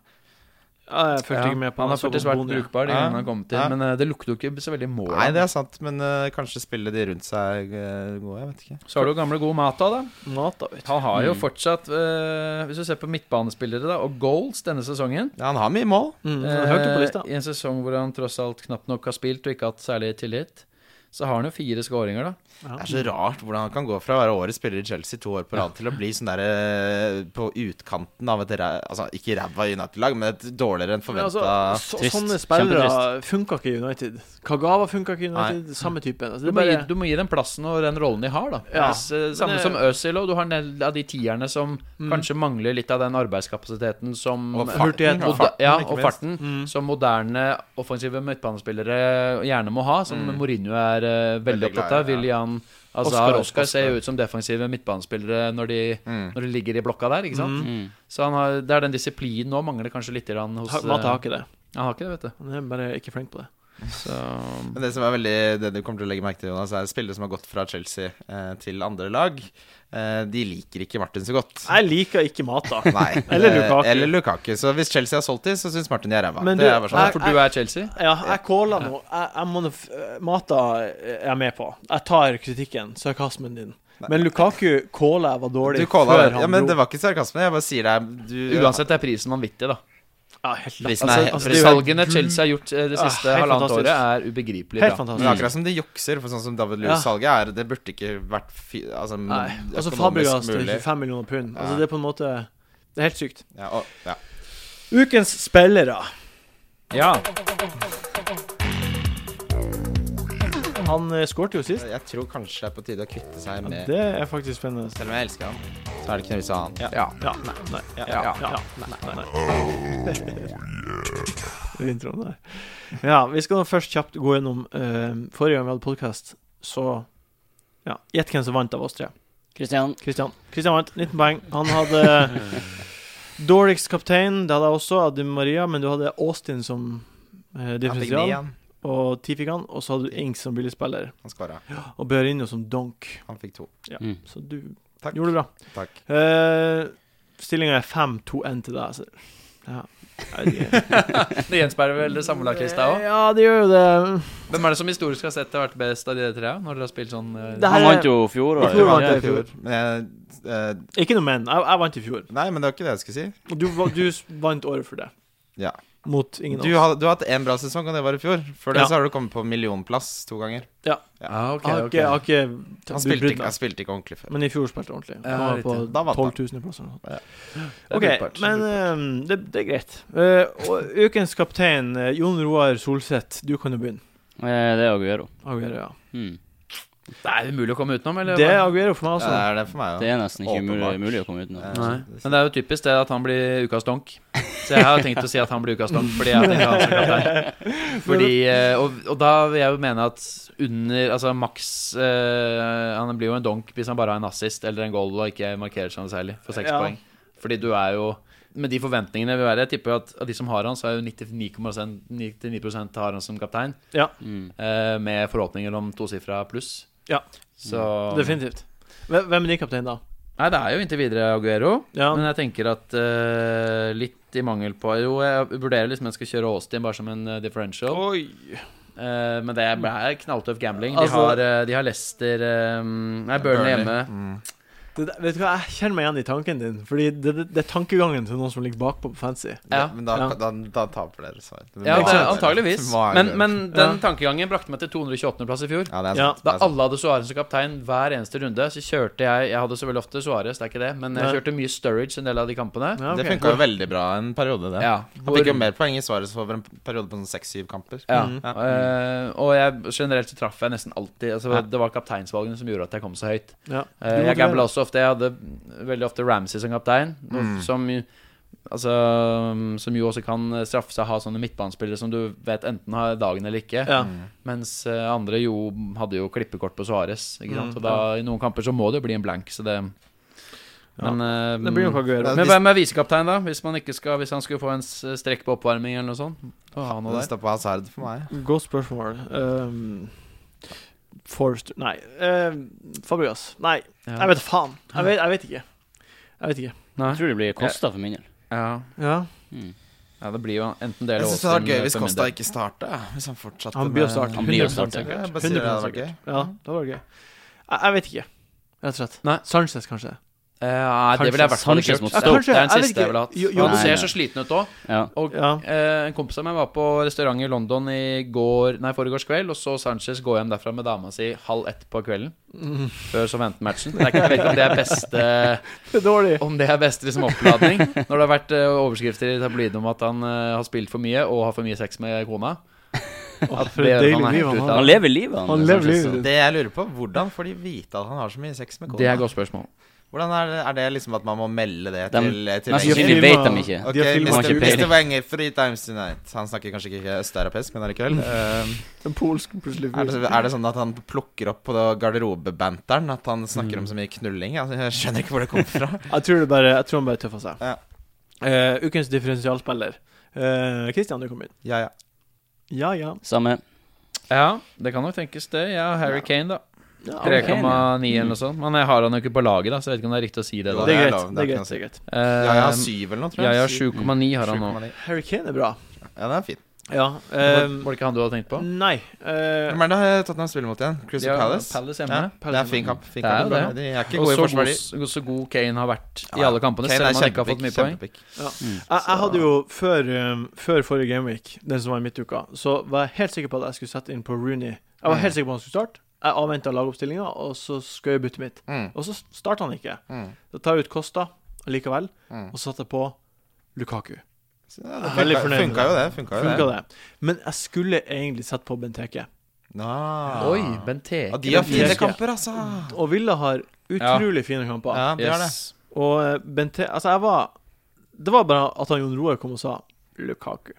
[SPEAKER 1] Ja, jeg følte ikke med på
[SPEAKER 5] han
[SPEAKER 1] han,
[SPEAKER 5] har
[SPEAKER 1] jeg så
[SPEAKER 5] faktisk
[SPEAKER 1] på
[SPEAKER 5] vært
[SPEAKER 1] Boni.
[SPEAKER 5] brukbar, de
[SPEAKER 3] Ja.
[SPEAKER 5] gangene han har kommet inn,
[SPEAKER 3] Ja.
[SPEAKER 5] men eh, det lukter jo ikke så veldig mål.
[SPEAKER 3] Nei, det er sant, men eh, kanskje spille de rundt seg eh, gode. Jeg vet ikke.
[SPEAKER 5] altså. Så har du jo gamle, gode Mata, da.
[SPEAKER 1] Nata, vet du.
[SPEAKER 5] Han har jo
[SPEAKER 4] Mm.
[SPEAKER 5] fortsatt, eh, hvis du ser på midtbanespillere da, og goals denne sesongen
[SPEAKER 3] Ja, han har mye mål.
[SPEAKER 1] Mm, så høyt opp på lista.
[SPEAKER 5] eh, I en sesong hvor han tross alt knapt nok har spilt og ikke hatt særlig tillit, så har han jo fire skåringer, da.
[SPEAKER 3] Det er så rart hvordan han kan gå fra å være årets spiller i Chelsea to år på rad til å bli sånn der eh, på utkanten av et ræ- Altså ikke ræva United-lag, men et dårligere enn
[SPEAKER 1] Men altså,
[SPEAKER 3] forventa
[SPEAKER 1] så,
[SPEAKER 4] Trist.
[SPEAKER 1] Sånne spillere funka ikke i United. Kagawa funka ikke i United. Samme typen. Altså, det er
[SPEAKER 5] Du må, gi,
[SPEAKER 1] bare
[SPEAKER 5] du må gi den plassen og den rollen de har, da.
[SPEAKER 1] Ja,
[SPEAKER 5] Hvis, eh,
[SPEAKER 1] men
[SPEAKER 5] samme
[SPEAKER 1] det-
[SPEAKER 5] som Øzil, og du har en del av de tierne som
[SPEAKER 1] Mm.
[SPEAKER 5] kanskje mangler litt av den arbeidskapasiteten som
[SPEAKER 3] Og
[SPEAKER 5] Moder-
[SPEAKER 1] hurtighet.
[SPEAKER 3] farten,
[SPEAKER 1] og
[SPEAKER 3] farten,
[SPEAKER 5] ja,
[SPEAKER 3] ikke
[SPEAKER 5] og
[SPEAKER 3] minst.
[SPEAKER 5] farten
[SPEAKER 1] Mm.
[SPEAKER 5] som moderne offensive midtbanespillere gjerne må ha, som Mourinho er eh, veldig
[SPEAKER 3] Veldig
[SPEAKER 5] opptatt
[SPEAKER 3] glad
[SPEAKER 5] av.
[SPEAKER 3] i, ja.
[SPEAKER 5] William
[SPEAKER 3] Oscar,
[SPEAKER 5] Azar
[SPEAKER 3] Oscar.
[SPEAKER 5] Oscar ser jo ut som defensive midtbanespillere når de,
[SPEAKER 3] Mm.
[SPEAKER 5] når de ligger i blokka der, ikke sant?
[SPEAKER 4] Mm.
[SPEAKER 5] Så han har, det er den disiplinen nå mangler kanskje litt grann hos
[SPEAKER 1] Ha- Mata har ikke det.
[SPEAKER 5] eh, Han har ikke det, vet du.
[SPEAKER 1] Han er bare ikke flink på det.
[SPEAKER 5] Så
[SPEAKER 3] Men det som er veldig Det du kommer til å legge merke til, Jonas, er spillere som har gått fra Chelsea eh, til andre lag. Eh, de liker ikke Martin så godt.
[SPEAKER 1] Jeg liker ikke Mata.
[SPEAKER 3] Nei.
[SPEAKER 1] (laughs) Eller
[SPEAKER 3] Eh,
[SPEAKER 1] Lukaku.
[SPEAKER 3] Eller Lukaku. Så hvis Chelsea har solgt de, så syns Martin de er ræva.
[SPEAKER 1] Men
[SPEAKER 3] Det
[SPEAKER 1] du-
[SPEAKER 3] er bare sånn.
[SPEAKER 1] Nei,
[SPEAKER 5] For du er Chelsea?
[SPEAKER 1] (laughs) Ja, jeg caller nå. Jeg, jeg må, f- eh, Mata er jeg med på. Jeg tar kritikken, sarkasmen din. Men Lukaku calla jeg var dårlig
[SPEAKER 3] Du kåla
[SPEAKER 1] før
[SPEAKER 3] det.
[SPEAKER 1] han
[SPEAKER 3] Ja, men
[SPEAKER 1] dro.
[SPEAKER 3] det var ikke sarkasme. Jeg bare sier det. Du,
[SPEAKER 5] Uansett er prisen vanvittig, da.
[SPEAKER 1] Ja, helt
[SPEAKER 3] Prisen
[SPEAKER 1] altså,
[SPEAKER 3] er-
[SPEAKER 1] altså,
[SPEAKER 5] De
[SPEAKER 1] det er jo
[SPEAKER 5] salgene Chelsea har gjort eh, det
[SPEAKER 1] Ah,
[SPEAKER 5] siste
[SPEAKER 1] helt
[SPEAKER 5] halvannet
[SPEAKER 1] fantastisk.
[SPEAKER 5] året, er ubegripelig
[SPEAKER 1] helt
[SPEAKER 5] bra.
[SPEAKER 1] fantastisk.
[SPEAKER 3] Men akkurat som de jukser, for sånn som David Lewis-salget er Det burde ikke vært fi, altså,
[SPEAKER 1] Nei. Altså, Fabregas
[SPEAKER 3] økonomisk
[SPEAKER 1] til
[SPEAKER 3] mulig.
[SPEAKER 1] 25 millioner pund. Altså,
[SPEAKER 3] Ja.
[SPEAKER 1] det er på en måte Det er helt sykt.
[SPEAKER 3] Ja, og, ja.
[SPEAKER 1] Ukens spillere.
[SPEAKER 5] Ja.
[SPEAKER 1] Han eh, skårte jo sist.
[SPEAKER 3] Jeg tror kanskje det er på tide å kvitte seg med
[SPEAKER 1] Det er faktisk spennende.
[SPEAKER 3] Selv om jeg elsker han, så er det ikke noe vits i å ha han.
[SPEAKER 5] ja.
[SPEAKER 1] Ja, nei, nei, ja, ja, ja, nei, nei, nei. (laughs) Det er introen der. Ja, vi skal nå først kjapt gå gjennom eh, Forrige gang vi hadde podkast, så Ja, gjett hvem som vant av oss tre.
[SPEAKER 4] Christian.
[SPEAKER 1] Kristian. Kristian vant 19 poeng. Han hadde dårligst kaptein. Det hadde jeg også, Adi Maria, men du hadde Austin som uh,
[SPEAKER 3] Jeg fikk ni,
[SPEAKER 1] differensial.
[SPEAKER 3] han.
[SPEAKER 1] Og ti fikk han, og så hadde du Ings som billigspiller.
[SPEAKER 3] Han skåra.
[SPEAKER 1] Og Bearinho som donk.
[SPEAKER 3] Han fikk to.
[SPEAKER 4] Mm.
[SPEAKER 1] Så du
[SPEAKER 3] Takk.
[SPEAKER 1] gjorde det bra. Eh,
[SPEAKER 3] Takk.
[SPEAKER 1] Uh, Stillinga er 5-2-1 til deg. Så
[SPEAKER 5] (laughs) Det gjenspeiler vel det samme laglista òg.
[SPEAKER 1] Ja, det gjør jo det.
[SPEAKER 5] Hvem er det som historisk har sett det har vært best av de tre? Når dere har spilt sånn eh,
[SPEAKER 1] Det her-
[SPEAKER 4] Han vant jo fjor.
[SPEAKER 1] I fjor vant
[SPEAKER 4] ja.
[SPEAKER 1] jeg. i fjor.
[SPEAKER 3] Men jeg, eh,
[SPEAKER 1] Ikke noe men. Jeg, jeg vant i fjor.
[SPEAKER 3] nei, men det var ikke det jeg skulle si.
[SPEAKER 1] Og du, va- du s- vant året for det.
[SPEAKER 3] Ja.
[SPEAKER 1] Mot ingen av
[SPEAKER 3] Du,
[SPEAKER 1] oss.
[SPEAKER 3] har- du har hatt én bra sesong, og det var i fjor. Før det
[SPEAKER 1] Ja.
[SPEAKER 3] så har du kommet på millionplass to ganger.
[SPEAKER 5] Ah, ok,
[SPEAKER 1] Jeg har
[SPEAKER 5] ok.
[SPEAKER 1] ikke, jeg har ikke
[SPEAKER 3] Han
[SPEAKER 1] brydd
[SPEAKER 3] spilte ikke,
[SPEAKER 1] meg.
[SPEAKER 3] han spilte ikke ordentlig før.
[SPEAKER 1] Men i fjor spilte jeg ordentlig.
[SPEAKER 5] Ja,
[SPEAKER 1] Han var
[SPEAKER 5] riktig.
[SPEAKER 1] på
[SPEAKER 3] Da vant
[SPEAKER 1] 12 000 i plass. eller noe sånt.
[SPEAKER 5] Det er
[SPEAKER 1] Ok,
[SPEAKER 5] brukbart.
[SPEAKER 1] men eh, det, det er greit. Eh, og ukens kaptein, eh, Jon Roar Solseth, du kan jo begynne.
[SPEAKER 4] Eh, Det er Aguero.
[SPEAKER 1] Aguero, ja.
[SPEAKER 4] Hmm.
[SPEAKER 5] Det er umulig å komme utenom, eller?
[SPEAKER 1] Det er Aguero for meg
[SPEAKER 3] Ja,
[SPEAKER 1] også.
[SPEAKER 3] det er det for meg
[SPEAKER 4] Det
[SPEAKER 3] òg.
[SPEAKER 4] er nesten ikke mulig,
[SPEAKER 3] Åpenbart.
[SPEAKER 4] mulig å komme utenom.
[SPEAKER 5] Nei. Men det er jo typisk det at han blir ukas donk. Så jeg har tenkt å si at han blir ukas donk, fordi jeg tenker han som sånn kaptein.
[SPEAKER 1] (laughs)
[SPEAKER 5] Fordi, eh, og, og da vil jeg jo mene at under Altså Max eh, Han blir jo en donk hvis han bare har en assist eller en goal og ikke markerer seg noe særlig for seks
[SPEAKER 1] Ja.
[SPEAKER 5] poeng. Fordi du er jo Med de forventningene vil være Jeg tipper at av de som har han, så er jo 99,9% 99% har han som kaptein.
[SPEAKER 4] Mm.
[SPEAKER 5] eh, med forhåpninger om tosifra pluss.
[SPEAKER 1] Ja.
[SPEAKER 5] Så
[SPEAKER 1] Definitivt. Hvem hvem er din kaptein, da?
[SPEAKER 5] Nei, det er jo inntil videre Aguero.
[SPEAKER 1] Ja,
[SPEAKER 5] Men jeg tenker at eh, litt i mangel på Jo, jeg vurderer liksom jeg skal kjøre Austin bare som en eh, differential. Eh, men det er, det er knalltøff gambling. De,
[SPEAKER 1] Altså-
[SPEAKER 5] har, eh, de har Leicester eh, Nei, Burnley hjemme.
[SPEAKER 3] Mm.
[SPEAKER 1] det, der- vet du hva, jeg kjenner meg igjen i tanken din. Fordi det, det, det er tankegangen til noen som ligger bakpå på fancy.
[SPEAKER 5] Ja.
[SPEAKER 3] Men da,
[SPEAKER 1] Ja.
[SPEAKER 3] da, da taper dere svar. Det
[SPEAKER 5] Ja,
[SPEAKER 3] må
[SPEAKER 5] det,
[SPEAKER 3] være-
[SPEAKER 5] antageligvis.
[SPEAKER 3] det må være
[SPEAKER 5] Men,
[SPEAKER 3] Aguero.
[SPEAKER 5] men
[SPEAKER 1] Ja.
[SPEAKER 5] den tankegangen brakte meg til 228.-plass i fjor.
[SPEAKER 3] ja, det er
[SPEAKER 1] Ja,
[SPEAKER 3] sant.
[SPEAKER 5] Da
[SPEAKER 3] det er sant.
[SPEAKER 5] alle hadde Suárez som kaptein hver eneste runde, så kjørte jeg Jeg hadde så veldig ofte Suárez, det er ikke det, men jeg
[SPEAKER 1] Nei.
[SPEAKER 5] kjørte mye Sturridge en del av de kampene.
[SPEAKER 1] Ja,
[SPEAKER 3] Det
[SPEAKER 1] ok.
[SPEAKER 3] funka jo veldig bra en periode, det.
[SPEAKER 5] Ja,
[SPEAKER 3] Han fikk jo mer poeng i svaret over en periode på sånn seks-syv kamper.
[SPEAKER 5] Ja.
[SPEAKER 1] Mhm.
[SPEAKER 5] eh, og jeg, generelt så traff jeg nesten alltid altså,
[SPEAKER 3] Ja.
[SPEAKER 5] Det var kapteinsvalgene som gjorde at jeg kom så høyt.
[SPEAKER 1] Ja.
[SPEAKER 5] Eh,
[SPEAKER 1] Du gratulerer.
[SPEAKER 5] jeg gambla også ofte. Jeg hadde veldig ofte Ramsey som kaptein. og
[SPEAKER 3] Mm.
[SPEAKER 5] Som, jo- altså, som jo også kan straffe seg å ha sånne midtbanespillere som du vet enten har dagen eller ikke.
[SPEAKER 1] Ja.
[SPEAKER 3] Mm.
[SPEAKER 5] Mens eh, andre jo hadde jo klippekort på Suárez. Ikke sant?
[SPEAKER 1] Mm,
[SPEAKER 5] Og da, i noen kamper så må det jo bli en blank, så det
[SPEAKER 1] Ja.
[SPEAKER 5] Men, eh,
[SPEAKER 1] Det blir nok Aguero.
[SPEAKER 3] Ja,
[SPEAKER 5] men
[SPEAKER 3] hvis-
[SPEAKER 5] hvem er visekaptein, da? Hvis, man ikke skal, hvis han skulle få en s- strekk på oppvarming eller noe sånt? Å, ha noe
[SPEAKER 3] Det
[SPEAKER 5] der.
[SPEAKER 3] står på hasard for meg.
[SPEAKER 1] Godt spørsmål. Um, Forrester Nei. eh, Fabregas. Nei,
[SPEAKER 5] Ja.
[SPEAKER 1] jeg vet faen. Jeg vet, jeg vet ikke. Jeg vet ikke.
[SPEAKER 5] Nei.
[SPEAKER 4] Jeg tror det blir Kosta for min del.
[SPEAKER 5] Ja.
[SPEAKER 1] Ja.
[SPEAKER 4] Mm.
[SPEAKER 5] ja, det blir jo enten det
[SPEAKER 3] Jeg
[SPEAKER 5] eller
[SPEAKER 3] syns det hadde vært
[SPEAKER 5] Austin, eh,
[SPEAKER 3] gøy hvis
[SPEAKER 5] for min
[SPEAKER 3] Kosta
[SPEAKER 5] del.
[SPEAKER 3] ikke starta. Hvis han fortsatte
[SPEAKER 1] Han blir å
[SPEAKER 5] eh,
[SPEAKER 1] starte.
[SPEAKER 4] Han blir å starte.
[SPEAKER 1] 100% sikkert.
[SPEAKER 3] Jeg bare sier det
[SPEAKER 1] 100%
[SPEAKER 3] hadde vært gøy.
[SPEAKER 1] Ja, det var gøy. Jeg, jeg vet ikke, rett og slett.
[SPEAKER 5] Nei.
[SPEAKER 1] Sanchez, kanskje.
[SPEAKER 5] Eh, Nei, det ville jeg i hvert fall ikke
[SPEAKER 4] Sanchez
[SPEAKER 5] gjort.
[SPEAKER 4] mot
[SPEAKER 5] Det
[SPEAKER 1] Stoke. Kanskje,
[SPEAKER 5] er den
[SPEAKER 1] jeg vet
[SPEAKER 5] siste jeg ville hatt.
[SPEAKER 1] ikke. Jo-
[SPEAKER 4] jo-
[SPEAKER 5] Han
[SPEAKER 4] Nei,
[SPEAKER 5] ser
[SPEAKER 4] nei.
[SPEAKER 5] så sliten ut òg.
[SPEAKER 4] Ja.
[SPEAKER 5] Og
[SPEAKER 1] Ja. (laughs)
[SPEAKER 5] eh, en kompis av meg var på restaurant i London i går, nei, foregårs kveld og så Sanchez gå hjem derfra med dama si halv ett på kvelden. Før Southampton-matchen. Det er ikke- Jeg vet ikke om det er beste
[SPEAKER 1] Det er dårlig.
[SPEAKER 5] Om det er beste liksom, oppladning. Når det har vært eh, overskrifter i tabloidene om at han eh, har spilt for mye og har for mye sex med kona. At
[SPEAKER 1] for et
[SPEAKER 5] det
[SPEAKER 1] deilig
[SPEAKER 5] gjør at han er sånn
[SPEAKER 1] liv han
[SPEAKER 5] helt ute
[SPEAKER 1] har.
[SPEAKER 5] av
[SPEAKER 4] Han
[SPEAKER 5] det.
[SPEAKER 4] lever livet, sånn han.
[SPEAKER 1] Han lever livet.
[SPEAKER 3] Det jeg lurer på, hvordan får de vite at han har så mye sex med
[SPEAKER 5] Det er et
[SPEAKER 3] kona?
[SPEAKER 5] godt spørsmål.
[SPEAKER 3] Hvordan er, det, er det liksom at man må melde det
[SPEAKER 4] De-
[SPEAKER 3] til, til
[SPEAKER 4] Mest
[SPEAKER 1] Engel.
[SPEAKER 3] Engel?
[SPEAKER 4] sannsynlig vet de ikke.
[SPEAKER 3] Ok,
[SPEAKER 1] De har filmet
[SPEAKER 4] han
[SPEAKER 3] Mr.
[SPEAKER 4] ikke
[SPEAKER 3] Mr.
[SPEAKER 4] peiling.
[SPEAKER 3] Wenger, three times tonight. Han snakker kanskje ikke østeuropeisk, men allikevel.
[SPEAKER 5] Eh,
[SPEAKER 3] Um,
[SPEAKER 1] En polsk plutselig
[SPEAKER 3] er, det- er det sånn at han plukker opp på det garderobebanteren? At han snakker om så mye knulling? Altså, Jeg skjønner ikke hvor det kommer fra. (laughs)
[SPEAKER 1] Jeg tror, det bare, jeg tror han bare tøffer seg.
[SPEAKER 3] Ja.
[SPEAKER 1] Eh, ukens differensialspiller. Eh, Christian, du kommer inn.
[SPEAKER 3] Ja, ja.
[SPEAKER 1] Ja, ja.
[SPEAKER 4] Samme.
[SPEAKER 5] Ja, det kan nok tenkes, det. Ja, Harry Kane, da.
[SPEAKER 1] ja
[SPEAKER 4] Harry
[SPEAKER 5] 3,9
[SPEAKER 4] Kane, ja.
[SPEAKER 5] eller noe sånt. Men jeg har han jo ikke på laget, da, så jeg vet ikke om det er riktig å si det.
[SPEAKER 1] Det
[SPEAKER 5] da
[SPEAKER 1] er
[SPEAKER 3] Det er
[SPEAKER 1] greit. Det
[SPEAKER 3] lov,
[SPEAKER 1] er
[SPEAKER 3] det
[SPEAKER 1] greit,
[SPEAKER 3] kan
[SPEAKER 1] det er greit.
[SPEAKER 5] Eh,
[SPEAKER 3] Ja, ja, syv eller noe, tror
[SPEAKER 5] Ja,
[SPEAKER 3] jeg.
[SPEAKER 5] ja,
[SPEAKER 3] Syv-
[SPEAKER 5] 7,9 har han nå.
[SPEAKER 3] 7,9.
[SPEAKER 1] Harry Kane er bra.
[SPEAKER 3] Ja, den er fin.
[SPEAKER 1] Ja.
[SPEAKER 5] Var
[SPEAKER 3] Ehm,
[SPEAKER 1] eh,
[SPEAKER 5] var det ikke han du hadde tenkt på?
[SPEAKER 1] nei. eh,
[SPEAKER 3] Hvem er det Tottenham spiller mot igjen? Crystal
[SPEAKER 5] Ja,
[SPEAKER 3] Palace?
[SPEAKER 5] Palace
[SPEAKER 3] Ja,
[SPEAKER 5] hjemme.
[SPEAKER 3] det er fin kamp. Fin
[SPEAKER 5] Det er
[SPEAKER 3] kamp.
[SPEAKER 5] jo
[SPEAKER 3] Bra.
[SPEAKER 5] det.
[SPEAKER 3] De er ikke
[SPEAKER 5] Og
[SPEAKER 3] gode i
[SPEAKER 5] så
[SPEAKER 3] forsvar,
[SPEAKER 5] god,
[SPEAKER 3] de.
[SPEAKER 5] så god Kane har vært i
[SPEAKER 3] Ja,
[SPEAKER 5] alle kampene,
[SPEAKER 3] Kane
[SPEAKER 5] selv
[SPEAKER 3] er
[SPEAKER 5] om han ikke har fått mye
[SPEAKER 3] kjempepick,
[SPEAKER 5] poeng.
[SPEAKER 3] kjempepick.
[SPEAKER 4] Mm.
[SPEAKER 1] jeg, jeg hadde jo før, um, før forrige gameweek, den som var i midtuka, så var jeg helt sikker på at jeg skulle sette inn på Rooney. Jeg
[SPEAKER 3] Mm.
[SPEAKER 1] var helt sikker på at han skulle starte. Jeg avventa lagoppstillinga, og så skøy jeg byttet mitt.
[SPEAKER 3] Mm,
[SPEAKER 1] Og så starta han ikke.
[SPEAKER 3] mm,
[SPEAKER 1] Da tar jeg ut Costa likevel,
[SPEAKER 3] mm.
[SPEAKER 1] og så satte jeg på Lukaku.
[SPEAKER 3] Så, ja, det
[SPEAKER 1] Veldig
[SPEAKER 3] funka,
[SPEAKER 1] fornøyd.
[SPEAKER 3] funka jo det. Funka jo
[SPEAKER 1] Funka
[SPEAKER 3] det.
[SPEAKER 1] det. Men jeg skulle egentlig sette på Benteke.
[SPEAKER 3] Ah.
[SPEAKER 5] Oi, Benteke.
[SPEAKER 3] Ja, de har fine
[SPEAKER 1] Benteke.
[SPEAKER 3] kamper, altså.
[SPEAKER 1] Og Villa har utrolig fine kamper.
[SPEAKER 3] Ja, de har det.
[SPEAKER 5] Yes.
[SPEAKER 1] Og eh, Bente... Altså, jeg var Det var bare at han Jon Roar kom og sa Lukaku.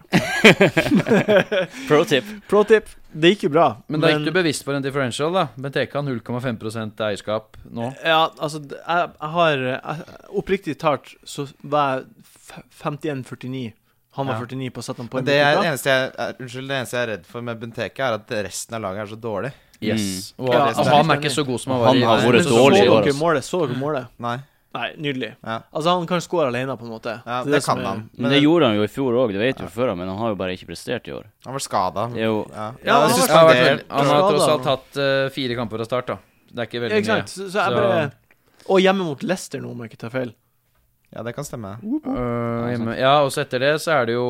[SPEAKER 4] Pro tip.
[SPEAKER 1] Pro tip. Det gikk jo bra.
[SPEAKER 5] Men da gikk du bevisst for en differential, da. Benteke har 0,5 eierskap nå.
[SPEAKER 1] Ja, altså d- Jeg, jeg har jeg, Oppriktig talt så var jeg f- 51-49. Han var
[SPEAKER 3] Ja.
[SPEAKER 1] 49 på å sette han på
[SPEAKER 3] Men
[SPEAKER 1] en
[SPEAKER 3] det, er,
[SPEAKER 1] midtbane.
[SPEAKER 3] eneste jeg, er, unnskyld, det eneste jeg er redd for med Benteke, er at resten av laget er så dårlig.
[SPEAKER 5] Yes.
[SPEAKER 1] Ja,
[SPEAKER 5] Og, Mm. og han er
[SPEAKER 1] enig.
[SPEAKER 3] altså,
[SPEAKER 5] ikke så god som han var
[SPEAKER 4] Han har
[SPEAKER 5] i
[SPEAKER 4] vært
[SPEAKER 5] så-
[SPEAKER 1] Så
[SPEAKER 4] dårlig i
[SPEAKER 1] dere
[SPEAKER 4] år, altså.
[SPEAKER 1] målet? Så dere målet?
[SPEAKER 3] Nei.
[SPEAKER 1] Nei, nydelig.
[SPEAKER 3] Ja.
[SPEAKER 1] Altså, han kan score alene, på en måte.
[SPEAKER 3] Ja,
[SPEAKER 1] er
[SPEAKER 3] det,
[SPEAKER 1] som
[SPEAKER 3] kan
[SPEAKER 1] er-
[SPEAKER 3] han.
[SPEAKER 4] Men det gjorde han jo i fjor òg, det vet du før, men han har jo bare ikke prestert i år.
[SPEAKER 3] Han var skada.
[SPEAKER 4] Det er jo
[SPEAKER 3] Ja.
[SPEAKER 1] Ja, han
[SPEAKER 3] det
[SPEAKER 1] har
[SPEAKER 3] synes
[SPEAKER 1] vært-
[SPEAKER 5] Han
[SPEAKER 3] jeg
[SPEAKER 5] har,
[SPEAKER 3] det-
[SPEAKER 5] vært, han har
[SPEAKER 1] Skada.
[SPEAKER 5] tross alt hatt eh, fire kamper fra start, da. Det er ikke
[SPEAKER 1] Ja,
[SPEAKER 5] veldig
[SPEAKER 1] ikke
[SPEAKER 5] mye.
[SPEAKER 1] sant? Så, så jeg
[SPEAKER 5] Så-
[SPEAKER 1] bare Og hjemme mot Leicester nå, om jeg ikke tar feil.
[SPEAKER 3] ja, det kan stemme.
[SPEAKER 5] Eh, hjemme. Ja, og så etter det så er det jo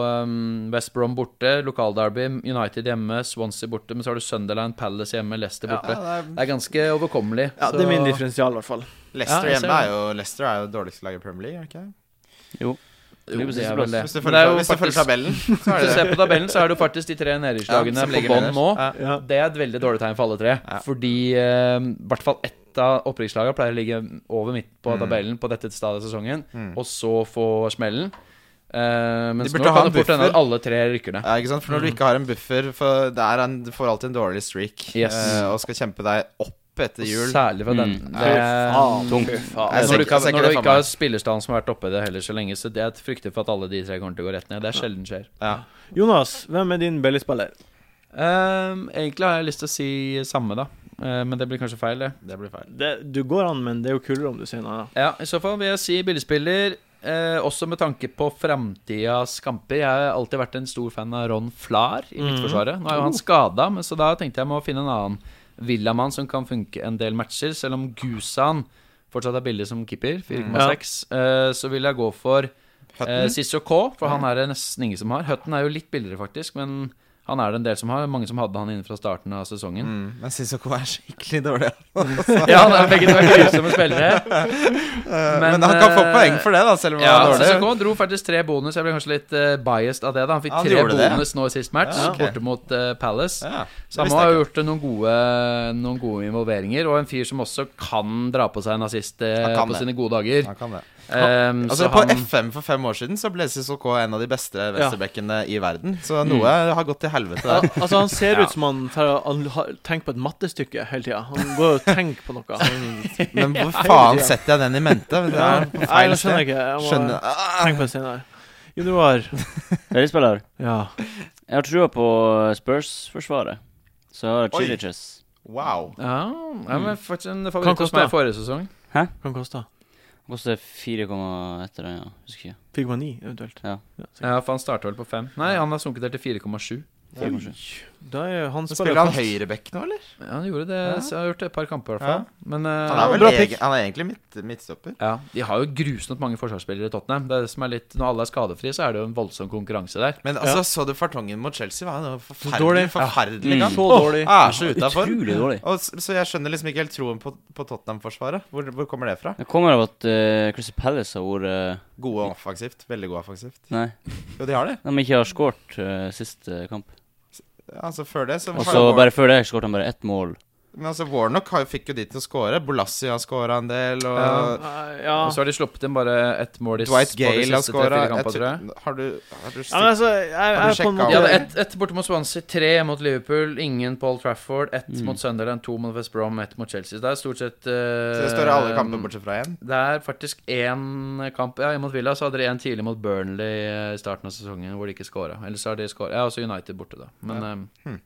[SPEAKER 5] ehm, West Brom borte, lokalderby, United hjemme, Swansea borte, men så har du Sunderland, Palace hjemme, Leicester borte. det er ganske overkommelig.
[SPEAKER 1] Ja,
[SPEAKER 5] så-
[SPEAKER 1] Det er min differensial, i hvert fall.
[SPEAKER 3] Leicester
[SPEAKER 5] Ja, jeg ser
[SPEAKER 3] hjemme er jo Leicester er jo dårligste laget i Premier League. er det Ikke? det?
[SPEAKER 5] Jo,
[SPEAKER 4] Ligger på
[SPEAKER 5] det er
[SPEAKER 4] sisteplass.
[SPEAKER 5] vel det.
[SPEAKER 3] Hvis du
[SPEAKER 5] Men det er
[SPEAKER 3] følger,
[SPEAKER 5] jo
[SPEAKER 3] hvis du følger
[SPEAKER 5] faktisk-
[SPEAKER 3] tabellen, så er
[SPEAKER 5] Hvis du
[SPEAKER 3] det
[SPEAKER 5] ser på tabellen, så er det jo faktisk de tre
[SPEAKER 3] Ja,
[SPEAKER 5] nederrikslagene
[SPEAKER 3] som
[SPEAKER 5] på
[SPEAKER 3] ligger
[SPEAKER 5] bånn
[SPEAKER 3] nederst.
[SPEAKER 5] nå.
[SPEAKER 3] Ja.
[SPEAKER 1] Ja.
[SPEAKER 5] Det er et veldig dårlig tegn for alle tre.
[SPEAKER 3] Ja.
[SPEAKER 5] Fordi eh, i hvert fall ett av opprykkslagene pleier å ligge over midt på tabellen på dette stadiet av sesongen,
[SPEAKER 3] Mm.
[SPEAKER 5] og så få smellen. Eh, mens
[SPEAKER 3] De
[SPEAKER 5] nå
[SPEAKER 3] burde ha
[SPEAKER 5] kan
[SPEAKER 3] en
[SPEAKER 5] det fort hende
[SPEAKER 3] buffer.
[SPEAKER 5] at alle tre rykker ned.
[SPEAKER 3] ja, ikke sant? For når du ikke har en buffer for det er en, Du får alltid en dårlig streak
[SPEAKER 5] Yes.
[SPEAKER 3] eh, og skal kjempe deg opp etter jul.
[SPEAKER 5] Særlig fra den.
[SPEAKER 4] Mm.
[SPEAKER 5] Det er,
[SPEAKER 4] tungt.
[SPEAKER 3] Jeg ser
[SPEAKER 5] når du ikke,
[SPEAKER 3] jeg
[SPEAKER 5] har- når
[SPEAKER 3] ser det
[SPEAKER 5] du
[SPEAKER 3] for
[SPEAKER 5] ikke har
[SPEAKER 3] meg.
[SPEAKER 5] spillerstanden som har vært oppe i det heller så lenge, så det jeg frykter for at alle de tre kommer til å gå rett ned. Det er sjelden skjer.
[SPEAKER 3] ja.
[SPEAKER 1] Jonas, hvem er din bellyspiller?
[SPEAKER 5] Ehm, egentlig har jeg lyst til å si samme, da. Eh, men det blir kanskje feil, det.
[SPEAKER 3] Det blir feil.
[SPEAKER 1] Det, du går an, men det er jo kulere om du sier noe annet.
[SPEAKER 5] Ja, i så fall vil jeg si billedspiller. Eh, også med tanke på framtidas kamper. Jeg har alltid vært en stor fan av Ron Flar i
[SPEAKER 1] Mhm.
[SPEAKER 5] Midtforsvaret. Nå er jo han skada, men så da tenkte jeg må finne en annen villamann som kan funke en del matcher. Selv om Gusan fortsatt er billig som keeper, 4,6, eh, så vil jeg gå for eh, Sissoko, for han er det nesten ingen som har. Hutton er jo litt billigere, faktisk, men han er det en del som har. Mange som hadde han inne fra starten av sesongen.
[SPEAKER 3] Mm. Men Sissoko er skikkelig dårlig.
[SPEAKER 5] (laughs)
[SPEAKER 3] altså.
[SPEAKER 5] Ja, han er begge to er grusomme spillere.
[SPEAKER 3] Eh, Men, han kan
[SPEAKER 1] eh,
[SPEAKER 3] få poeng for det, da, selv om
[SPEAKER 5] Ja,
[SPEAKER 3] han er
[SPEAKER 1] altså,
[SPEAKER 3] dårlig.
[SPEAKER 5] CCK dro faktisk tre bonus. Jeg ble kanskje litt eh, biased av det. da Han fikk
[SPEAKER 3] Han
[SPEAKER 5] tre
[SPEAKER 3] gjorde det, ja.
[SPEAKER 5] bonus nå i sist match,
[SPEAKER 3] Ja, ok.
[SPEAKER 5] borte mot eh, Palace.
[SPEAKER 3] Ja, det
[SPEAKER 5] Så han
[SPEAKER 3] visste
[SPEAKER 5] har
[SPEAKER 3] jeg
[SPEAKER 5] jo
[SPEAKER 3] ikke.
[SPEAKER 5] gjort eh, noen gode, noen gode involveringer. Og en fyr som også kan dra på seg en assist eh,
[SPEAKER 3] Han kan
[SPEAKER 5] på
[SPEAKER 3] det.
[SPEAKER 5] sine gode dager.
[SPEAKER 3] Han kan det.
[SPEAKER 5] Ehm, så
[SPEAKER 3] Altså På
[SPEAKER 5] han,
[SPEAKER 3] FM for fem år siden så ble Sissoko en av de beste venstrebekkene i verden. Så noe
[SPEAKER 1] Mm.
[SPEAKER 3] har gått til helvete der.
[SPEAKER 1] Altså, han ser ut som han, fer- han har- tenker på et mattestykke hele tida. Han går og tenker på noe. (laughs)
[SPEAKER 3] Men hvor faen setter jeg den i mente? Det er på
[SPEAKER 1] Nei,
[SPEAKER 3] feil
[SPEAKER 1] det skjønner jeg
[SPEAKER 3] sted.
[SPEAKER 1] ikke. Jeg må
[SPEAKER 3] Skjønner Ah,
[SPEAKER 1] tenke på det senere. Jon Roar.
[SPEAKER 4] Spillespiller.
[SPEAKER 1] Ja.
[SPEAKER 4] Jeg har trua på eh, Spurs-forsvaret. Så jeg har
[SPEAKER 3] Oi.
[SPEAKER 4] Chiliches.
[SPEAKER 3] Wow.
[SPEAKER 5] ja, ja, men faktisk en favoritt hos
[SPEAKER 1] koste.
[SPEAKER 5] meg forrige sesong.
[SPEAKER 1] Hva koster
[SPEAKER 4] Koster 4, etter det, ja. Husker ikke.
[SPEAKER 1] 4,9 eventuelt.
[SPEAKER 4] Ja.
[SPEAKER 1] sikkert.
[SPEAKER 5] Ja, for han starta vel på fem. Nei, han har sunket der til 4,7.
[SPEAKER 4] Fire, kanskje.
[SPEAKER 1] Da er han
[SPEAKER 3] Men
[SPEAKER 1] spiller
[SPEAKER 3] Spiller han
[SPEAKER 1] fast.
[SPEAKER 3] høyrebekk nå, eller?
[SPEAKER 5] Ja, han gjorde det.
[SPEAKER 3] Ja.
[SPEAKER 5] Så jeg har gjort det et par kamper, i hvert fall. Men eh,
[SPEAKER 3] Han er, vel
[SPEAKER 1] bra
[SPEAKER 3] egen,
[SPEAKER 1] pick.
[SPEAKER 3] han er egentlig midt, midtstopper.
[SPEAKER 5] Ja, De har jo grusomt mange forsvarsspillere i Tottenham. Det er det som er litt, Når alle er skadefrie, så er det jo en voldsom konkurranse der.
[SPEAKER 3] Men altså, så du fartongen mot Chelsea? Var jo forferdelig,
[SPEAKER 1] dårlig. Mm.
[SPEAKER 3] forferdelig
[SPEAKER 4] Ja.
[SPEAKER 3] kamp.
[SPEAKER 1] Så dårlig.
[SPEAKER 3] Jeg er så utafor.
[SPEAKER 4] Utrolig dårlig.
[SPEAKER 3] Så jeg skjønner liksom ikke helt troen på, på Tottenham-forsvaret. Hvor, hvor kommer det fra?
[SPEAKER 4] Det kommer av at uh, Chrissy Palace har vært eh,
[SPEAKER 3] Gode offensivt. Veldig gode offensivt.
[SPEAKER 4] Nei,
[SPEAKER 3] Jo, de har det.
[SPEAKER 4] de ikke har skåret eh, siste kamp.
[SPEAKER 3] Altså, før det så
[SPEAKER 4] Og så
[SPEAKER 3] Warnock-
[SPEAKER 4] bare før det skåret han bare ett mål.
[SPEAKER 3] Men altså, Warnock har, fikk jo de til å score. Bolassi har scora en del, og
[SPEAKER 5] Ja.
[SPEAKER 1] Nei, Eh, Ja.
[SPEAKER 5] Og så har de sluppet inn bare ett mål i s-
[SPEAKER 3] Dwight
[SPEAKER 5] på de
[SPEAKER 3] Gale har
[SPEAKER 5] siste tre-fire
[SPEAKER 3] scora.
[SPEAKER 5] kamper, tror jeg.
[SPEAKER 3] Har du, har du
[SPEAKER 1] Ja, men altså, jeg, jeg er
[SPEAKER 3] Har du
[SPEAKER 1] på en
[SPEAKER 3] sjekket
[SPEAKER 1] måte
[SPEAKER 5] De hadde ett ett borte mot Swansea, tre mot Liverpool, ingen Paul Trafford, ett
[SPEAKER 4] Mm.
[SPEAKER 5] mot Sunderland, to mot West Brom, ett mot Chelsea. Så det er stort sett eh,
[SPEAKER 3] Så det står i alle kamper bortsett fra én.
[SPEAKER 5] Det er faktisk én kamp Ja, mot Villa så hadde de en tidlig mot Burnley eh, i starten av sesongen hvor de ikke scora. Eller så har de scora. Ja, også United borte, da. Men eh,
[SPEAKER 3] Hmm.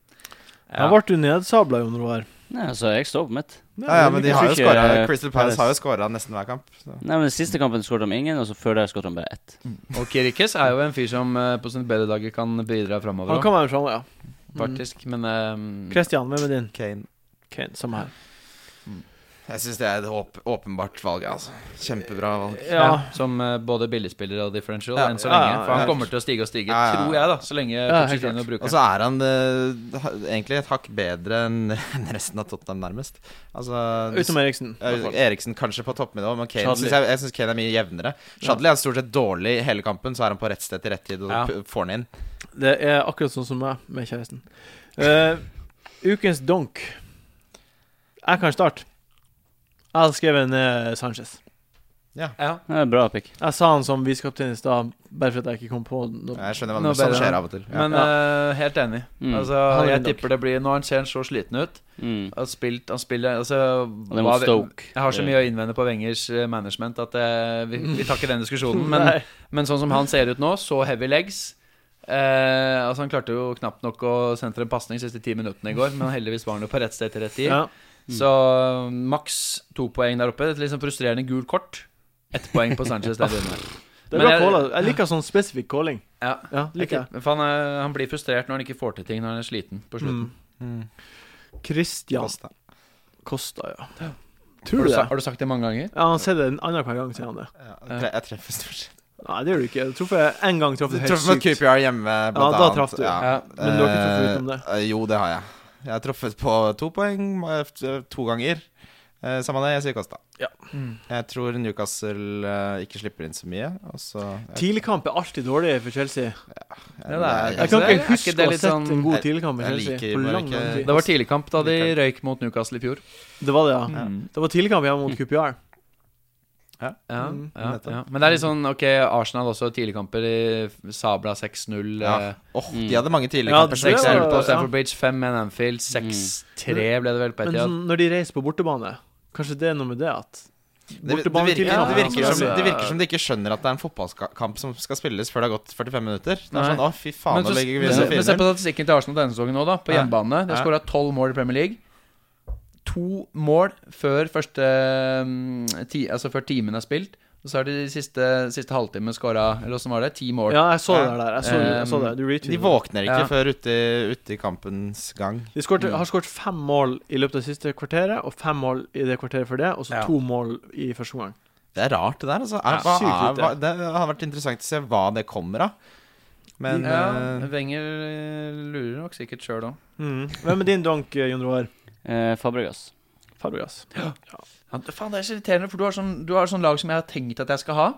[SPEAKER 1] Han ble jo nedsabla, Jon Roar.
[SPEAKER 4] Nei, altså, jeg står på mitt.
[SPEAKER 3] Ja, ja, men de har jo
[SPEAKER 4] tror ikke-
[SPEAKER 3] scoret Crystal Palace
[SPEAKER 4] Palace.
[SPEAKER 3] har jo scora nesten hver kamp. Så.
[SPEAKER 4] Nei, men siste kampen skåret de ingen, og så før det skåret de bare ett.
[SPEAKER 5] Og Kirikes er jo en fyr som eh, på sine bedre dager kan bidra framover.
[SPEAKER 1] Han kan Mm. være framme, ja.
[SPEAKER 3] Mm.
[SPEAKER 5] faktisk. Men ehm,
[SPEAKER 1] Kristian, hvem er din?
[SPEAKER 3] Kane.
[SPEAKER 1] Kane, samme her.
[SPEAKER 3] Jeg syns det er et åp åpenbart valg, altså. Kjempebra valg.
[SPEAKER 5] ja. som eh, både billigspiller og differential
[SPEAKER 3] Ja,
[SPEAKER 5] enn så
[SPEAKER 3] ja,
[SPEAKER 5] lenge.
[SPEAKER 1] ja,
[SPEAKER 5] For
[SPEAKER 3] ja.
[SPEAKER 5] han kommer til å stige og stige,
[SPEAKER 3] Ja, Altså, ja, ja.
[SPEAKER 5] tror jeg, da. Så lenge
[SPEAKER 1] helt
[SPEAKER 5] Pochettino
[SPEAKER 1] klart.
[SPEAKER 3] Og
[SPEAKER 5] bruker
[SPEAKER 3] så er han eh, ha- egentlig et hakk bedre enn (laughs) enn resten av Tottenham, nærmest. Altså du-
[SPEAKER 1] Utenom Eriksen. i
[SPEAKER 3] Ja,
[SPEAKER 1] hvert fall.
[SPEAKER 3] Eh, Eriksen kanskje på toppnivå, men Kane
[SPEAKER 1] Chadli.
[SPEAKER 3] synes jeg, jeg syns Kane er mye jevnere. Chadli er stort sett dårlig i hele kampen, så er han på rett sted til rett tid og
[SPEAKER 5] Ja.
[SPEAKER 3] p- får han inn.
[SPEAKER 1] Det er akkurat sånn som meg med kjæresten. Eh, ukens donk. Jeg kan starte. Jeg har skrevet ned Sanchez.
[SPEAKER 5] Ja.
[SPEAKER 4] Det er bra pick.
[SPEAKER 1] Jeg sa han som visekaptein i stad, bare for at jeg ikke kom på noe.
[SPEAKER 3] Jeg skjønner
[SPEAKER 5] Nå
[SPEAKER 3] hva som
[SPEAKER 5] bedre.
[SPEAKER 3] skjer av og til. Ja.
[SPEAKER 5] Men eh, helt enig.
[SPEAKER 4] Mm.
[SPEAKER 5] Altså,
[SPEAKER 1] Han er
[SPEAKER 5] jeg
[SPEAKER 1] en
[SPEAKER 5] tipper det blir Nå han ser han så sliten ut.
[SPEAKER 4] Mm.
[SPEAKER 5] Han, spilt, han spiller altså,
[SPEAKER 4] Og det er
[SPEAKER 5] hva
[SPEAKER 4] mot
[SPEAKER 5] vi-
[SPEAKER 4] Stoke.
[SPEAKER 5] Jeg har så
[SPEAKER 4] Det-
[SPEAKER 5] mye å innvende på Wengers eh, management at eh, vi, vi tar ikke den diskusjonen. Men,
[SPEAKER 1] Nei.
[SPEAKER 5] Men sånn som han ser ut nå, så heavy legs eh, Altså Han klarte jo knapt nok å sentre en pasning de siste ti minuttene i går, men heldigvis var han jo på rett sted til rett tid.
[SPEAKER 1] ja.
[SPEAKER 5] Så um, maks to poeng der oppe. Et litt sånn frustrerende gult kort. Ett poeng på Sanchez
[SPEAKER 1] Ah,
[SPEAKER 5] der inne.
[SPEAKER 1] Det er
[SPEAKER 5] Men
[SPEAKER 1] bra
[SPEAKER 5] jeg-
[SPEAKER 1] calla. Jeg liker sånn spesifikk calling.
[SPEAKER 5] Ja.
[SPEAKER 1] Ja, liker jeg.
[SPEAKER 5] Men faen, eh, han blir frustrert når han ikke får til ting, når han er sliten
[SPEAKER 1] Mm.
[SPEAKER 5] på slutten.
[SPEAKER 3] Mm.
[SPEAKER 1] Christian
[SPEAKER 3] Kosta.
[SPEAKER 1] Kosta, ja.
[SPEAKER 5] Har,
[SPEAKER 1] Tror
[SPEAKER 5] du
[SPEAKER 1] du
[SPEAKER 5] sa,
[SPEAKER 1] det?
[SPEAKER 5] har du sagt det mange ganger?
[SPEAKER 1] Ja, han sier det en annen hver gang, sier han det.
[SPEAKER 3] Ja, jeg tre- jeg treffer stort sett.
[SPEAKER 1] Nei, det gjør du ikke. Jeg tror jeg en gang traff
[SPEAKER 3] Du
[SPEAKER 1] det helt
[SPEAKER 3] traff mot
[SPEAKER 1] sykt.
[SPEAKER 3] QPR hjemme, blant
[SPEAKER 1] da
[SPEAKER 3] annet.
[SPEAKER 1] traff du.
[SPEAKER 5] Ja.
[SPEAKER 1] Men du har ikke truffet utenom det?
[SPEAKER 3] Eh, Jo, det har jeg. Jeg har truffet på to poeng eh, f- to ganger. Eh, Samme det, jeg sier Kosta.
[SPEAKER 1] Ja.
[SPEAKER 3] Jeg tror Newcastle eh, ikke slipper inn så mye. Og så jeg,
[SPEAKER 1] Tidligkamp er alltid dårlig for Chelsea.
[SPEAKER 5] Ja, det er-
[SPEAKER 1] Jeg kan ikke
[SPEAKER 5] Altså, er
[SPEAKER 1] huske
[SPEAKER 5] ikke
[SPEAKER 1] å
[SPEAKER 5] det
[SPEAKER 1] ha
[SPEAKER 5] litt
[SPEAKER 1] sett en
[SPEAKER 5] sånn-
[SPEAKER 1] god
[SPEAKER 3] Jeg-
[SPEAKER 1] tidligkamp i
[SPEAKER 3] jeg
[SPEAKER 1] Chelsea.
[SPEAKER 3] liker
[SPEAKER 1] på
[SPEAKER 3] bare
[SPEAKER 1] lang,
[SPEAKER 3] ikke-
[SPEAKER 1] lang tid.
[SPEAKER 5] Det var tidligkamp da de røyk mot Newcastle i fjor.
[SPEAKER 1] Det var det, ja.
[SPEAKER 5] Mm.
[SPEAKER 1] Det var tidligkamp hjemme mot QPR.
[SPEAKER 5] Ja,
[SPEAKER 1] Mm,
[SPEAKER 5] ja,
[SPEAKER 3] nettopp.
[SPEAKER 5] ja. Men det er litt sånn Ok, Arsenal også tidligkamper i Sabla 6-0.
[SPEAKER 3] ja.
[SPEAKER 5] eh,
[SPEAKER 3] Åh,
[SPEAKER 4] Mm.
[SPEAKER 3] De hadde mange
[SPEAKER 1] Ja,
[SPEAKER 3] tidligkamper.
[SPEAKER 1] det
[SPEAKER 3] som ikke
[SPEAKER 1] var-
[SPEAKER 5] 6-0
[SPEAKER 3] ser ut
[SPEAKER 5] på
[SPEAKER 1] ja. Mm.
[SPEAKER 5] Stamford Bridge, 5-1 Anfield, 6-3 ble det vel på
[SPEAKER 1] Men
[SPEAKER 5] Etiad.
[SPEAKER 1] sånn, når de reiser på bortebane, kanskje det er noe med det at
[SPEAKER 3] Det, det, virker,
[SPEAKER 1] Bortebane-tidligkamp
[SPEAKER 3] det,
[SPEAKER 1] er
[SPEAKER 3] virker
[SPEAKER 1] vanskelig.
[SPEAKER 3] som,
[SPEAKER 5] altså.
[SPEAKER 3] det virker som de ikke skjønner at det er en fotballkamp som skal spilles før det har gått 45 minutter. Det er
[SPEAKER 5] Nei.
[SPEAKER 3] sånn, å fy faen,
[SPEAKER 5] Men,
[SPEAKER 3] nå
[SPEAKER 5] så,
[SPEAKER 3] legger vi
[SPEAKER 5] men,
[SPEAKER 3] så
[SPEAKER 5] se- men se
[SPEAKER 3] fine
[SPEAKER 5] på statistikken til Arsenal denne sesongen òg, da. På
[SPEAKER 3] Ja.
[SPEAKER 5] hjemmebane. De har
[SPEAKER 3] Ja.
[SPEAKER 5] skåra tolv mål i Premier League. To mål før første mm, ti, Altså før timen er spilt. Og så har de de siste, siste halvtimen skåra Eller åssen var det? Ti mål.
[SPEAKER 1] Ja, jeg så det der. Jeg så, jeg så det. Du
[SPEAKER 3] Eh, De
[SPEAKER 1] retweetet det.
[SPEAKER 3] våkner ikke
[SPEAKER 5] Ja.
[SPEAKER 3] før ute, i- ute i kampens gang.
[SPEAKER 1] De skårte-
[SPEAKER 3] Mm.
[SPEAKER 1] har skåret fem mål i løpet av det siste kvarteret, og fem mål i det kvarteret før det, og så
[SPEAKER 5] Ja.
[SPEAKER 1] to mål i første omgang.
[SPEAKER 3] Det er rart, det der. Altså. Er,
[SPEAKER 1] Ja,
[SPEAKER 3] hva,
[SPEAKER 1] sykt
[SPEAKER 3] er,
[SPEAKER 1] lite.
[SPEAKER 3] hva, det hadde vært interessant å se hva det kommer av. Men
[SPEAKER 5] Ja,
[SPEAKER 3] eh,
[SPEAKER 5] Wenger eh, lurer nok sikkert sjøl òg.
[SPEAKER 1] Mm. Hvem er din donk, eh, Jon Roar?
[SPEAKER 4] Eh, Fabregas.
[SPEAKER 1] Fabregas.
[SPEAKER 5] Faen, det er så irriterende, for du har, sånn, du har sånn lag som jeg har tenkt at jeg skal ha.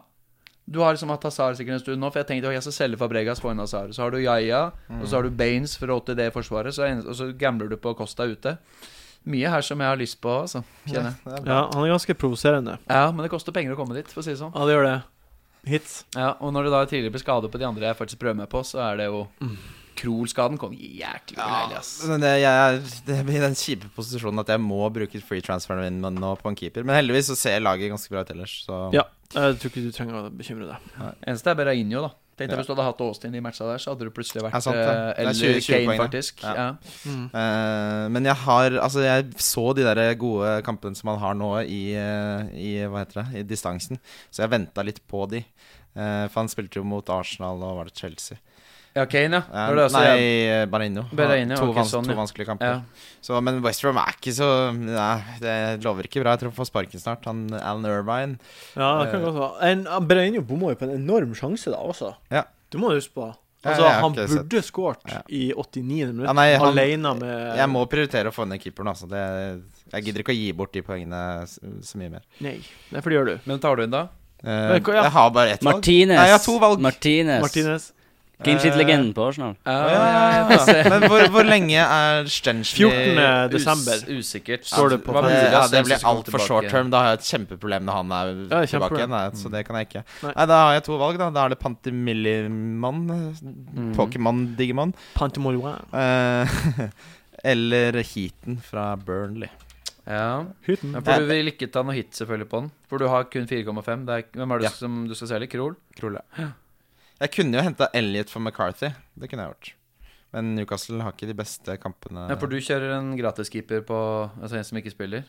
[SPEAKER 5] Du har liksom hatt Hazard sikkert en stund nå, for jeg tenkte at jeg skal selge Fabregas for en Hazard. Så har du Yaya, og så har du Baines for å åtte det i forsvaret, så er en, og så gambler du på Costa ute. Mye her som jeg har lyst på, altså.
[SPEAKER 3] mm.
[SPEAKER 5] Kjenner jeg.
[SPEAKER 1] Ja, han er ganske provoserende.
[SPEAKER 5] Ja, men det koster penger å komme dit, for å si det sånn.
[SPEAKER 1] Ja, det gjør det. Hits.
[SPEAKER 5] Ja, og når det da tidligere ble skade på de andre jeg faktisk prøver meg på, så er det jo Krohl-skaden kom jæklig uleilig, ass.
[SPEAKER 3] men det, jeg er det er i den kjipe posisjonen at jeg må bruke free transferen min men nå på en keeper. Men heldigvis så ser laget ganske bra ut ellers, så
[SPEAKER 1] Ja. Eh, Jeg tror ikke du trenger å bekymre deg.
[SPEAKER 5] Eneste er Berrainho, da. Tenkte
[SPEAKER 3] Ja.
[SPEAKER 5] Hvis du hadde hatt Austin i matcha der, så hadde du plutselig vært
[SPEAKER 3] Ja, sant det.
[SPEAKER 5] eh,
[SPEAKER 3] Det er
[SPEAKER 5] Eller
[SPEAKER 3] 20 20
[SPEAKER 5] Kane,
[SPEAKER 3] poeng, da.
[SPEAKER 5] faktisk.
[SPEAKER 3] Ja.
[SPEAKER 5] Ja.
[SPEAKER 1] Mm.
[SPEAKER 3] Eh, men jeg har Altså, jeg så de der gode kampene som man har nå i, eh, i Hva heter det? I distansen. Så jeg venta litt på de. Eh, for han spilte jo mot Arsenal og var det Chelsea.
[SPEAKER 5] ja, Kane, ja.
[SPEAKER 3] Eh,
[SPEAKER 5] Når det også,
[SPEAKER 3] nei,
[SPEAKER 5] ja.
[SPEAKER 3] eh, Barreino.
[SPEAKER 5] Barreino,
[SPEAKER 3] to,
[SPEAKER 5] ok,
[SPEAKER 3] vans
[SPEAKER 5] sånn,
[SPEAKER 3] to
[SPEAKER 5] ja.
[SPEAKER 3] vanskelige kamper.
[SPEAKER 5] Ja.
[SPEAKER 3] Så, men Westrom er ikke så Nei, det lover ikke bra. Jeg tror han får sparken snart. Han Alan Irvine.
[SPEAKER 1] Ja,
[SPEAKER 3] Eh.
[SPEAKER 1] det kan godt være. En- ja, Berenio bomma jo på en enorm sjanse, da, også.
[SPEAKER 3] Ja.
[SPEAKER 1] Du må huske på.
[SPEAKER 3] Ja,
[SPEAKER 1] Altså,
[SPEAKER 3] jeg har
[SPEAKER 1] han
[SPEAKER 3] ikke sett.
[SPEAKER 1] burde skåret
[SPEAKER 3] Ja.
[SPEAKER 1] i 89. minutt,
[SPEAKER 3] Ja, nei, han-
[SPEAKER 1] alene med
[SPEAKER 3] Jeg må prioritere å få ned keeperen, altså. Det, jeg gidder ikke å gi bort de poengene s- så mye mer.
[SPEAKER 1] Nei, Nei, for det gjør du.
[SPEAKER 5] Men tar du inn, da?
[SPEAKER 3] Eh,
[SPEAKER 1] Men, ja.
[SPEAKER 3] Jeg har bare ett valg.
[SPEAKER 4] Martinez!
[SPEAKER 3] Nei, jeg har to valg.
[SPEAKER 4] Martinez.
[SPEAKER 1] Martinez.
[SPEAKER 4] Clean
[SPEAKER 3] Eh,
[SPEAKER 5] Eh,
[SPEAKER 4] sheet-legenden på Arsenal.
[SPEAKER 3] Ja,
[SPEAKER 1] Ah.
[SPEAKER 3] ja, ja, ja. Men hvor, hvor lenge er Stenchley
[SPEAKER 1] 14. desember.
[SPEAKER 5] usikkert.
[SPEAKER 1] eh, Står det på
[SPEAKER 5] Hva
[SPEAKER 1] Men
[SPEAKER 3] Eh,
[SPEAKER 5] mulig,
[SPEAKER 3] ja,
[SPEAKER 5] ass,
[SPEAKER 3] det
[SPEAKER 5] jeg synes
[SPEAKER 3] blir
[SPEAKER 5] jeg skal
[SPEAKER 3] altfor
[SPEAKER 5] tilbake.
[SPEAKER 3] short term. Da har jeg et kjempeproblem når han er
[SPEAKER 1] Ja,
[SPEAKER 3] tilbake
[SPEAKER 1] kjempeproblem. Mm.
[SPEAKER 3] igjen. da, Så det kan jeg ikke.
[SPEAKER 1] Nei.
[SPEAKER 3] Nei, Da har jeg to valg, da. Da er det Pantimillimon.
[SPEAKER 5] Mm.
[SPEAKER 3] Pokémon-digimon.
[SPEAKER 1] Pantemoloin.
[SPEAKER 3] eh, (laughs) eller Heaton fra Burnley.
[SPEAKER 5] Ja.
[SPEAKER 1] Hytten.
[SPEAKER 5] Ja, for du vil ikke ta noe hit selvfølgelig på den. For du har kun 4,5. Det er- Hvem er det
[SPEAKER 3] Ja.
[SPEAKER 5] som du skal selge? Krol?
[SPEAKER 3] Krole. Jeg kunne jo henta Elliot for McCarthy. Det kunne jeg gjort. Men Newcastle har ikke de beste kampene.
[SPEAKER 5] Ja, for du kjører en gratiskeeper på Altså en som ikke spiller?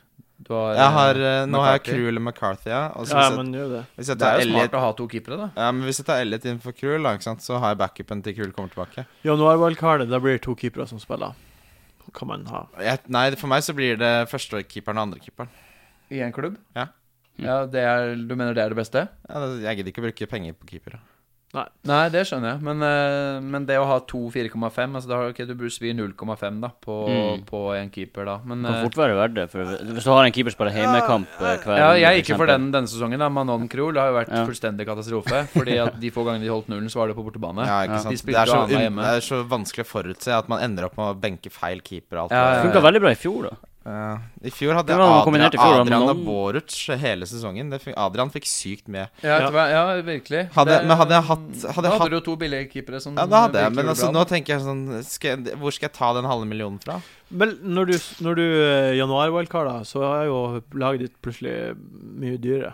[SPEAKER 5] Du har,
[SPEAKER 3] jeg har, eh, nå har jeg
[SPEAKER 5] McCarthy.
[SPEAKER 3] Krule McCarthy, ja. Og så
[SPEAKER 1] Ja,
[SPEAKER 3] altså, hvis, jeg,
[SPEAKER 1] men gjør det.
[SPEAKER 3] hvis jeg
[SPEAKER 5] Det
[SPEAKER 3] tar
[SPEAKER 5] er jo
[SPEAKER 3] Elliot
[SPEAKER 5] smart å ha to keepere, da.
[SPEAKER 3] Ja, men Hvis jeg tar Elliot inn for Krul, da, ikke sant, så har jeg backupen til Krul kommer tilbake.
[SPEAKER 1] Januar-wildcardet, da blir det to keepere som spiller. Kan man ha.
[SPEAKER 3] Jeg, nei, for meg så blir det førstekeeperen og andrekeeperen.
[SPEAKER 5] I en klubb?
[SPEAKER 3] Ja.
[SPEAKER 5] ja det er, du mener det er det beste?
[SPEAKER 3] Ja, det- jeg gidder ikke å bruke penger på keepere.
[SPEAKER 5] Nei, det skjønner jeg, men, eh, men det å ha to 4,5 altså da, har- ok, Du burde svi 0,5 da på,
[SPEAKER 4] Mm.
[SPEAKER 5] på en keeper, da. Men
[SPEAKER 4] Kan
[SPEAKER 5] eh,
[SPEAKER 4] fort være verdt det. For hvis du har en keeper som spiller heimekamp eh, hver
[SPEAKER 5] ja,
[SPEAKER 4] runde,
[SPEAKER 5] jeg gikk jo for
[SPEAKER 4] eksempel.
[SPEAKER 5] den denne sesongen. da Manon Krohl har jo vært
[SPEAKER 4] Ja.
[SPEAKER 5] fullstendig katastrofe. Fordi at de få gangene de holdt nullen, så var det på bortebane.
[SPEAKER 3] Ja, ikke
[SPEAKER 4] Ja.
[SPEAKER 5] De
[SPEAKER 3] sant? Det
[SPEAKER 5] spilte
[SPEAKER 3] er, så,
[SPEAKER 5] jo alle
[SPEAKER 3] un-
[SPEAKER 5] hjemme.
[SPEAKER 3] det er så vanskelig å forutse at man ender opp med å benke feil keeper og alt
[SPEAKER 5] Ja, ja, ja.
[SPEAKER 3] det
[SPEAKER 4] Funka veldig bra i fjor, da.
[SPEAKER 3] Ja. I fjor hadde
[SPEAKER 4] Det
[SPEAKER 3] jeg
[SPEAKER 4] var noe
[SPEAKER 3] Adrian,
[SPEAKER 4] kombinert i fjor, da, men
[SPEAKER 3] Adrian og
[SPEAKER 4] noen-
[SPEAKER 3] Boruc hele sesongen. Det fun Adrian fikk sykt med.
[SPEAKER 5] Ja, etter hver- ja virkelig.
[SPEAKER 3] Hadde-
[SPEAKER 5] Det-
[SPEAKER 3] men hadde jeg hatt- hadde
[SPEAKER 5] Da
[SPEAKER 3] jeg
[SPEAKER 5] hadde
[SPEAKER 3] hatt-
[SPEAKER 5] du jo to billige keepere
[SPEAKER 4] Mm,
[SPEAKER 5] som
[SPEAKER 3] Ja, det hadde jeg,
[SPEAKER 5] virkelig
[SPEAKER 3] men
[SPEAKER 5] gjorde
[SPEAKER 3] altså,
[SPEAKER 5] bra.
[SPEAKER 3] nå tenker jeg sånn skal jeg, Hvor skal jeg ta den halve millionen fra?
[SPEAKER 1] Men når du, når du eh, januar-wildcarder, så er jo laget ditt plutselig mye dyrere.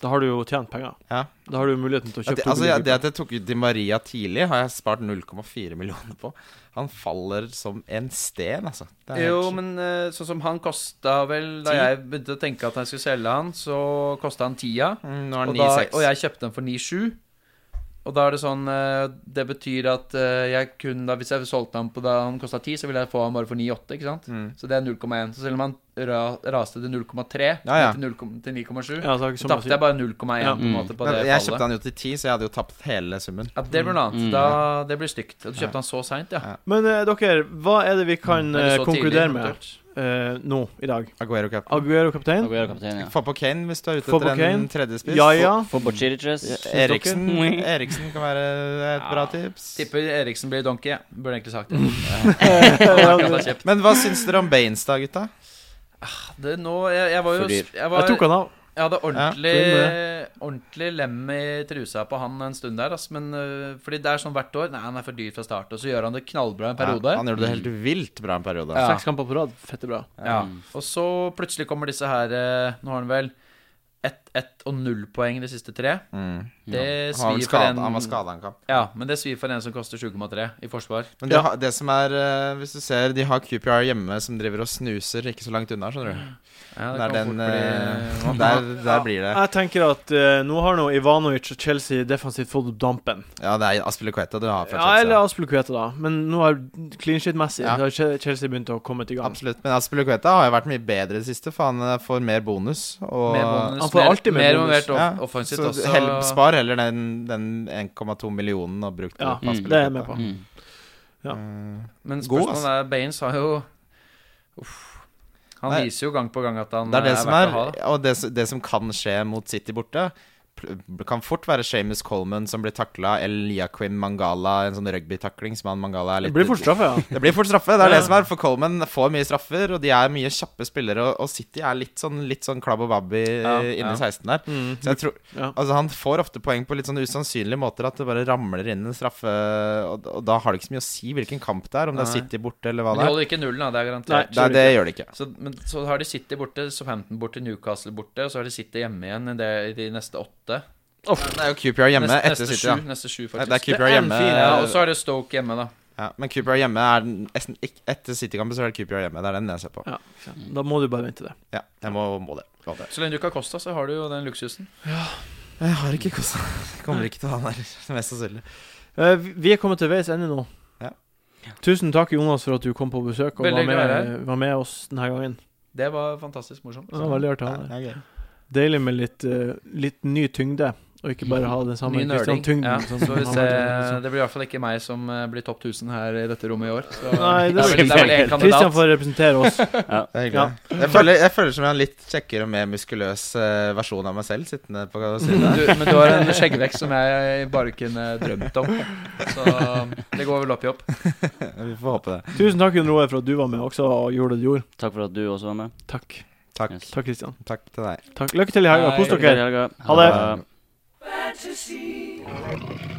[SPEAKER 1] Da har du jo tjent penger.
[SPEAKER 3] Ja.
[SPEAKER 1] Da har du jo muligheten til å
[SPEAKER 3] Ja,
[SPEAKER 1] kjøpe
[SPEAKER 3] det, altså, ja,
[SPEAKER 1] publikum.
[SPEAKER 3] det at jeg tok ut Di Maria tidlig, har jeg spart 0,4 millioner på. Han faller som en sten, altså. Det er
[SPEAKER 5] Jo,
[SPEAKER 3] helt-
[SPEAKER 5] men eh, sånn som han kosta vel Da
[SPEAKER 3] Ti.
[SPEAKER 5] jeg begynte å tenke at jeg skulle selge han, så kosta han tia.
[SPEAKER 3] Mm, Nå er
[SPEAKER 5] Og,
[SPEAKER 3] han
[SPEAKER 5] da,
[SPEAKER 3] 9,6.
[SPEAKER 5] og jeg kjøpte den for 9,7. Og da er det sånn eh, Det betyr at eh, jeg kun da, hvis jeg solgte han på da han kosta 10, så ville jeg få han bare for 9,8. ikke sant?
[SPEAKER 3] Mm.
[SPEAKER 5] Så det er 0,1. Så selv om han ra, raste til 0,3,
[SPEAKER 3] Ja, ja.
[SPEAKER 5] til 0,7, til 9,7,
[SPEAKER 1] Ja, så har jeg ikke så mye
[SPEAKER 5] så
[SPEAKER 1] å
[SPEAKER 5] tapte
[SPEAKER 1] si.
[SPEAKER 5] jeg bare 0,1
[SPEAKER 1] Ja.
[SPEAKER 5] på en måte på det
[SPEAKER 3] Mm. Men jeg kjøpte
[SPEAKER 5] fallet.
[SPEAKER 3] han jo til 10, så jeg hadde jo tapt hele summen.
[SPEAKER 5] Ja, det blir noe annet.
[SPEAKER 4] Mm.
[SPEAKER 5] Da, det blir stygt. At du kjøpte han så seint, ja.
[SPEAKER 3] Ja.
[SPEAKER 1] Men eh, dere, hva er det vi kan eh,
[SPEAKER 5] Eller så tidlig,
[SPEAKER 1] konkludere med
[SPEAKER 5] eventuelt.
[SPEAKER 1] eh, nå i dag?
[SPEAKER 3] Aguero captain.
[SPEAKER 1] Aguero kaptein?
[SPEAKER 4] Aguero kaptein, ja.
[SPEAKER 3] Få på Kane hvis du er ute
[SPEAKER 1] Få på
[SPEAKER 3] etter en
[SPEAKER 1] Kane.
[SPEAKER 3] tredje spiss.
[SPEAKER 1] Ja
[SPEAKER 3] (laughs)
[SPEAKER 1] ja.
[SPEAKER 4] Få på Chiriches.
[SPEAKER 3] Eriksen,
[SPEAKER 4] Stokker.
[SPEAKER 3] (laughs) Eriksen kan være et bra tips.
[SPEAKER 5] Tipper Eriksen blir donkey. jeg. Burde egentlig sagt det.
[SPEAKER 1] Mm. jeg
[SPEAKER 3] Men hva syns dere om Baines, da, gutta?
[SPEAKER 5] det nå, jeg, jeg var jo
[SPEAKER 4] For dyr.
[SPEAKER 5] jeg, var,
[SPEAKER 1] tok
[SPEAKER 5] jeg
[SPEAKER 1] han av.
[SPEAKER 5] hadde ordentlig,
[SPEAKER 1] Ja,
[SPEAKER 5] ordentlig lem i trusa på han en stund der. ass, men øh, fordi det er sånn hvert år Nei, han er for dyr fra start, og så gjør han det knallbra en periode. Mm.
[SPEAKER 3] Ja, han gjorde det helt vilt bra en periode.
[SPEAKER 5] Ja.
[SPEAKER 1] Seks kamper på rad. Fette bra.
[SPEAKER 5] Ja.
[SPEAKER 4] Mm.
[SPEAKER 5] Og så plutselig kommer disse her eh, Nå har han vel ett ett og null poeng de siste tre.
[SPEAKER 3] Mm.
[SPEAKER 5] Det
[SPEAKER 3] Han, var vel
[SPEAKER 5] svir for
[SPEAKER 3] skadet-
[SPEAKER 5] en
[SPEAKER 3] han var skada en kamp.
[SPEAKER 5] Ja, men det svir for en som koster 7,3 i forsvar.
[SPEAKER 3] Men de har, det som er eh, Hvis du ser, de har QPR hjemme som driver og snuser ikke så langt unna, skjønner du.
[SPEAKER 5] Ja,
[SPEAKER 3] Det er
[SPEAKER 5] kan
[SPEAKER 3] den,
[SPEAKER 5] fort bli- (laughs)
[SPEAKER 3] eh, der, der blir det
[SPEAKER 1] Jeg tenker at eh, nå har nå Ivanovic og Chelsea defensivt fått opp dampen.
[SPEAKER 3] Ja, det er Aspille Kveta du har fra
[SPEAKER 1] Ja, eller
[SPEAKER 3] Chelsea.
[SPEAKER 1] Aspelukvete, da. Men nå har clean shit-messig
[SPEAKER 3] Ja.
[SPEAKER 1] Da har Che- Chelsea begynt å komme i gang.
[SPEAKER 3] Absolutt. Men Aspille Kveta har jo vært mye bedre i det siste, for han eh, får mer bonus. Og
[SPEAKER 5] Mer bonus,
[SPEAKER 1] Han får
[SPEAKER 5] mer-
[SPEAKER 1] alltid mer
[SPEAKER 5] mer
[SPEAKER 1] bonus.
[SPEAKER 5] involvert
[SPEAKER 3] Ja,
[SPEAKER 5] off- offensivt
[SPEAKER 3] så
[SPEAKER 5] også.
[SPEAKER 3] hell- spar heller den, den 1,2 millionen og bruk det
[SPEAKER 1] Ja,
[SPEAKER 3] på Aspille
[SPEAKER 1] det er jeg med
[SPEAKER 3] Kveta.
[SPEAKER 1] på.
[SPEAKER 4] Mm.
[SPEAKER 1] Ja.
[SPEAKER 3] Eh,
[SPEAKER 5] Men
[SPEAKER 3] God,
[SPEAKER 5] spørsmålet
[SPEAKER 3] altså.
[SPEAKER 5] er Baines har jo Uff. Han
[SPEAKER 3] Nei.
[SPEAKER 5] viser jo gang på gang at han
[SPEAKER 3] Det er det
[SPEAKER 5] eh,
[SPEAKER 3] som
[SPEAKER 5] verdt
[SPEAKER 3] er
[SPEAKER 5] å ha, da.
[SPEAKER 3] Og det, s- det som kan skje mot City borte pl- kan fort være Seamus Coleman som blir takla, eller Yaquim Mangala, en sånn rugbytakling som han Mangala er
[SPEAKER 1] Det
[SPEAKER 3] litt
[SPEAKER 1] blir fort straffe, ja.
[SPEAKER 3] Det blir fort straffe. Det er
[SPEAKER 1] Ja.
[SPEAKER 3] det som er, for Coleman får mye straffer, og de er mye kjappe spillere, og, og City er litt sånn, litt sånn klabb og babb i,
[SPEAKER 5] Ja,
[SPEAKER 3] eh, inni
[SPEAKER 5] ja.
[SPEAKER 3] 16 der. Så jeg tror,
[SPEAKER 1] Ja.
[SPEAKER 3] altså Han får ofte poeng på litt sånn usannsynlige måter, at det bare ramler inn en straffe, og, og da har det ikke så mye å si hvilken kamp det er, om det er
[SPEAKER 5] Nei.
[SPEAKER 3] City borte eller hva
[SPEAKER 5] Men de
[SPEAKER 3] det er.
[SPEAKER 5] holder ikke nullen, da. Det er
[SPEAKER 1] Nei.
[SPEAKER 5] garantert.
[SPEAKER 3] Nei, det gjør det ikke.
[SPEAKER 5] Så, men så har de City borte, Southampton borte, Newcastle borte, og så har de City hjemme igjen i det- i de neste åtte.
[SPEAKER 3] Det er jo QPR hjemme
[SPEAKER 5] neste,
[SPEAKER 3] etter
[SPEAKER 5] neste
[SPEAKER 3] City,
[SPEAKER 5] sju, neste sju,
[SPEAKER 3] ja.
[SPEAKER 5] faktisk.
[SPEAKER 3] Det er
[SPEAKER 1] Det
[SPEAKER 3] QPR
[SPEAKER 1] er en
[SPEAKER 3] hjemme.
[SPEAKER 1] fin,
[SPEAKER 5] ja, og så er det Stoke hjemme, da.
[SPEAKER 3] Ja, men QPR hjemme er den- nesten ikke Etter City-kampen så er det QPR hjemme. Det er den jeg ser på.
[SPEAKER 1] ja. Da må du bare vente det.
[SPEAKER 3] Ja, jeg må, må det. Må det.
[SPEAKER 5] Så lenge du ikke har Costa, så har du jo den luksusen.
[SPEAKER 3] Jeg har ikke kosa. Kommer ikke til å ha den her, mest sannsynlig.
[SPEAKER 1] Eh, vi- vi er kommet til veis ende nå.
[SPEAKER 3] Ja.
[SPEAKER 1] Tusen takk, Jonas, for at du kom på besøk og var
[SPEAKER 5] Veldig hyggelig å være
[SPEAKER 1] med, var med oss denne gangen.
[SPEAKER 5] Det var fantastisk morsomt.
[SPEAKER 1] Det var veldig artig å
[SPEAKER 3] Ja,
[SPEAKER 1] ha deg.
[SPEAKER 3] det er gøy.
[SPEAKER 1] Deilig med litt, eh, litt ny tyngde, og ikke bare ha den samme
[SPEAKER 5] Ny nerding.
[SPEAKER 1] Christian Tyngden.
[SPEAKER 5] Ja,
[SPEAKER 1] som
[SPEAKER 5] så vi
[SPEAKER 1] har vært
[SPEAKER 5] ser,
[SPEAKER 1] med, liksom.
[SPEAKER 5] det blir i hvert fall ikke meg som eh, blir topp 1000 her i dette rommet i år. Så
[SPEAKER 1] Nei,
[SPEAKER 5] det,
[SPEAKER 1] det
[SPEAKER 5] er vel, det er vel en
[SPEAKER 1] Christian
[SPEAKER 5] kandidat.
[SPEAKER 1] får representere oss.
[SPEAKER 3] Det er hyggelig.
[SPEAKER 1] Ja.
[SPEAKER 3] Jeg, føler, jeg føler som jeg har en litt kjekkere og mer muskuløs eh, versjon av meg selv sittende på (laughs) siden her.
[SPEAKER 5] Du, men du har en skjeggvekst som jeg bare kunne drømt om. Så det går vel opp i opp.
[SPEAKER 3] Vi får håpe det.
[SPEAKER 1] Tusen takk, Jon Roar, for at du var med også og gjorde det du gjorde.
[SPEAKER 4] Takk for at du også var med.
[SPEAKER 1] Takk.
[SPEAKER 3] Takk,
[SPEAKER 4] Yes.
[SPEAKER 1] Takk, Christian.
[SPEAKER 3] takk til deg.
[SPEAKER 1] Takk. Lykke til i helga. Kos
[SPEAKER 4] Lykke til i
[SPEAKER 1] dere.
[SPEAKER 4] helga.
[SPEAKER 1] Ha det.
[SPEAKER 3] Ha det.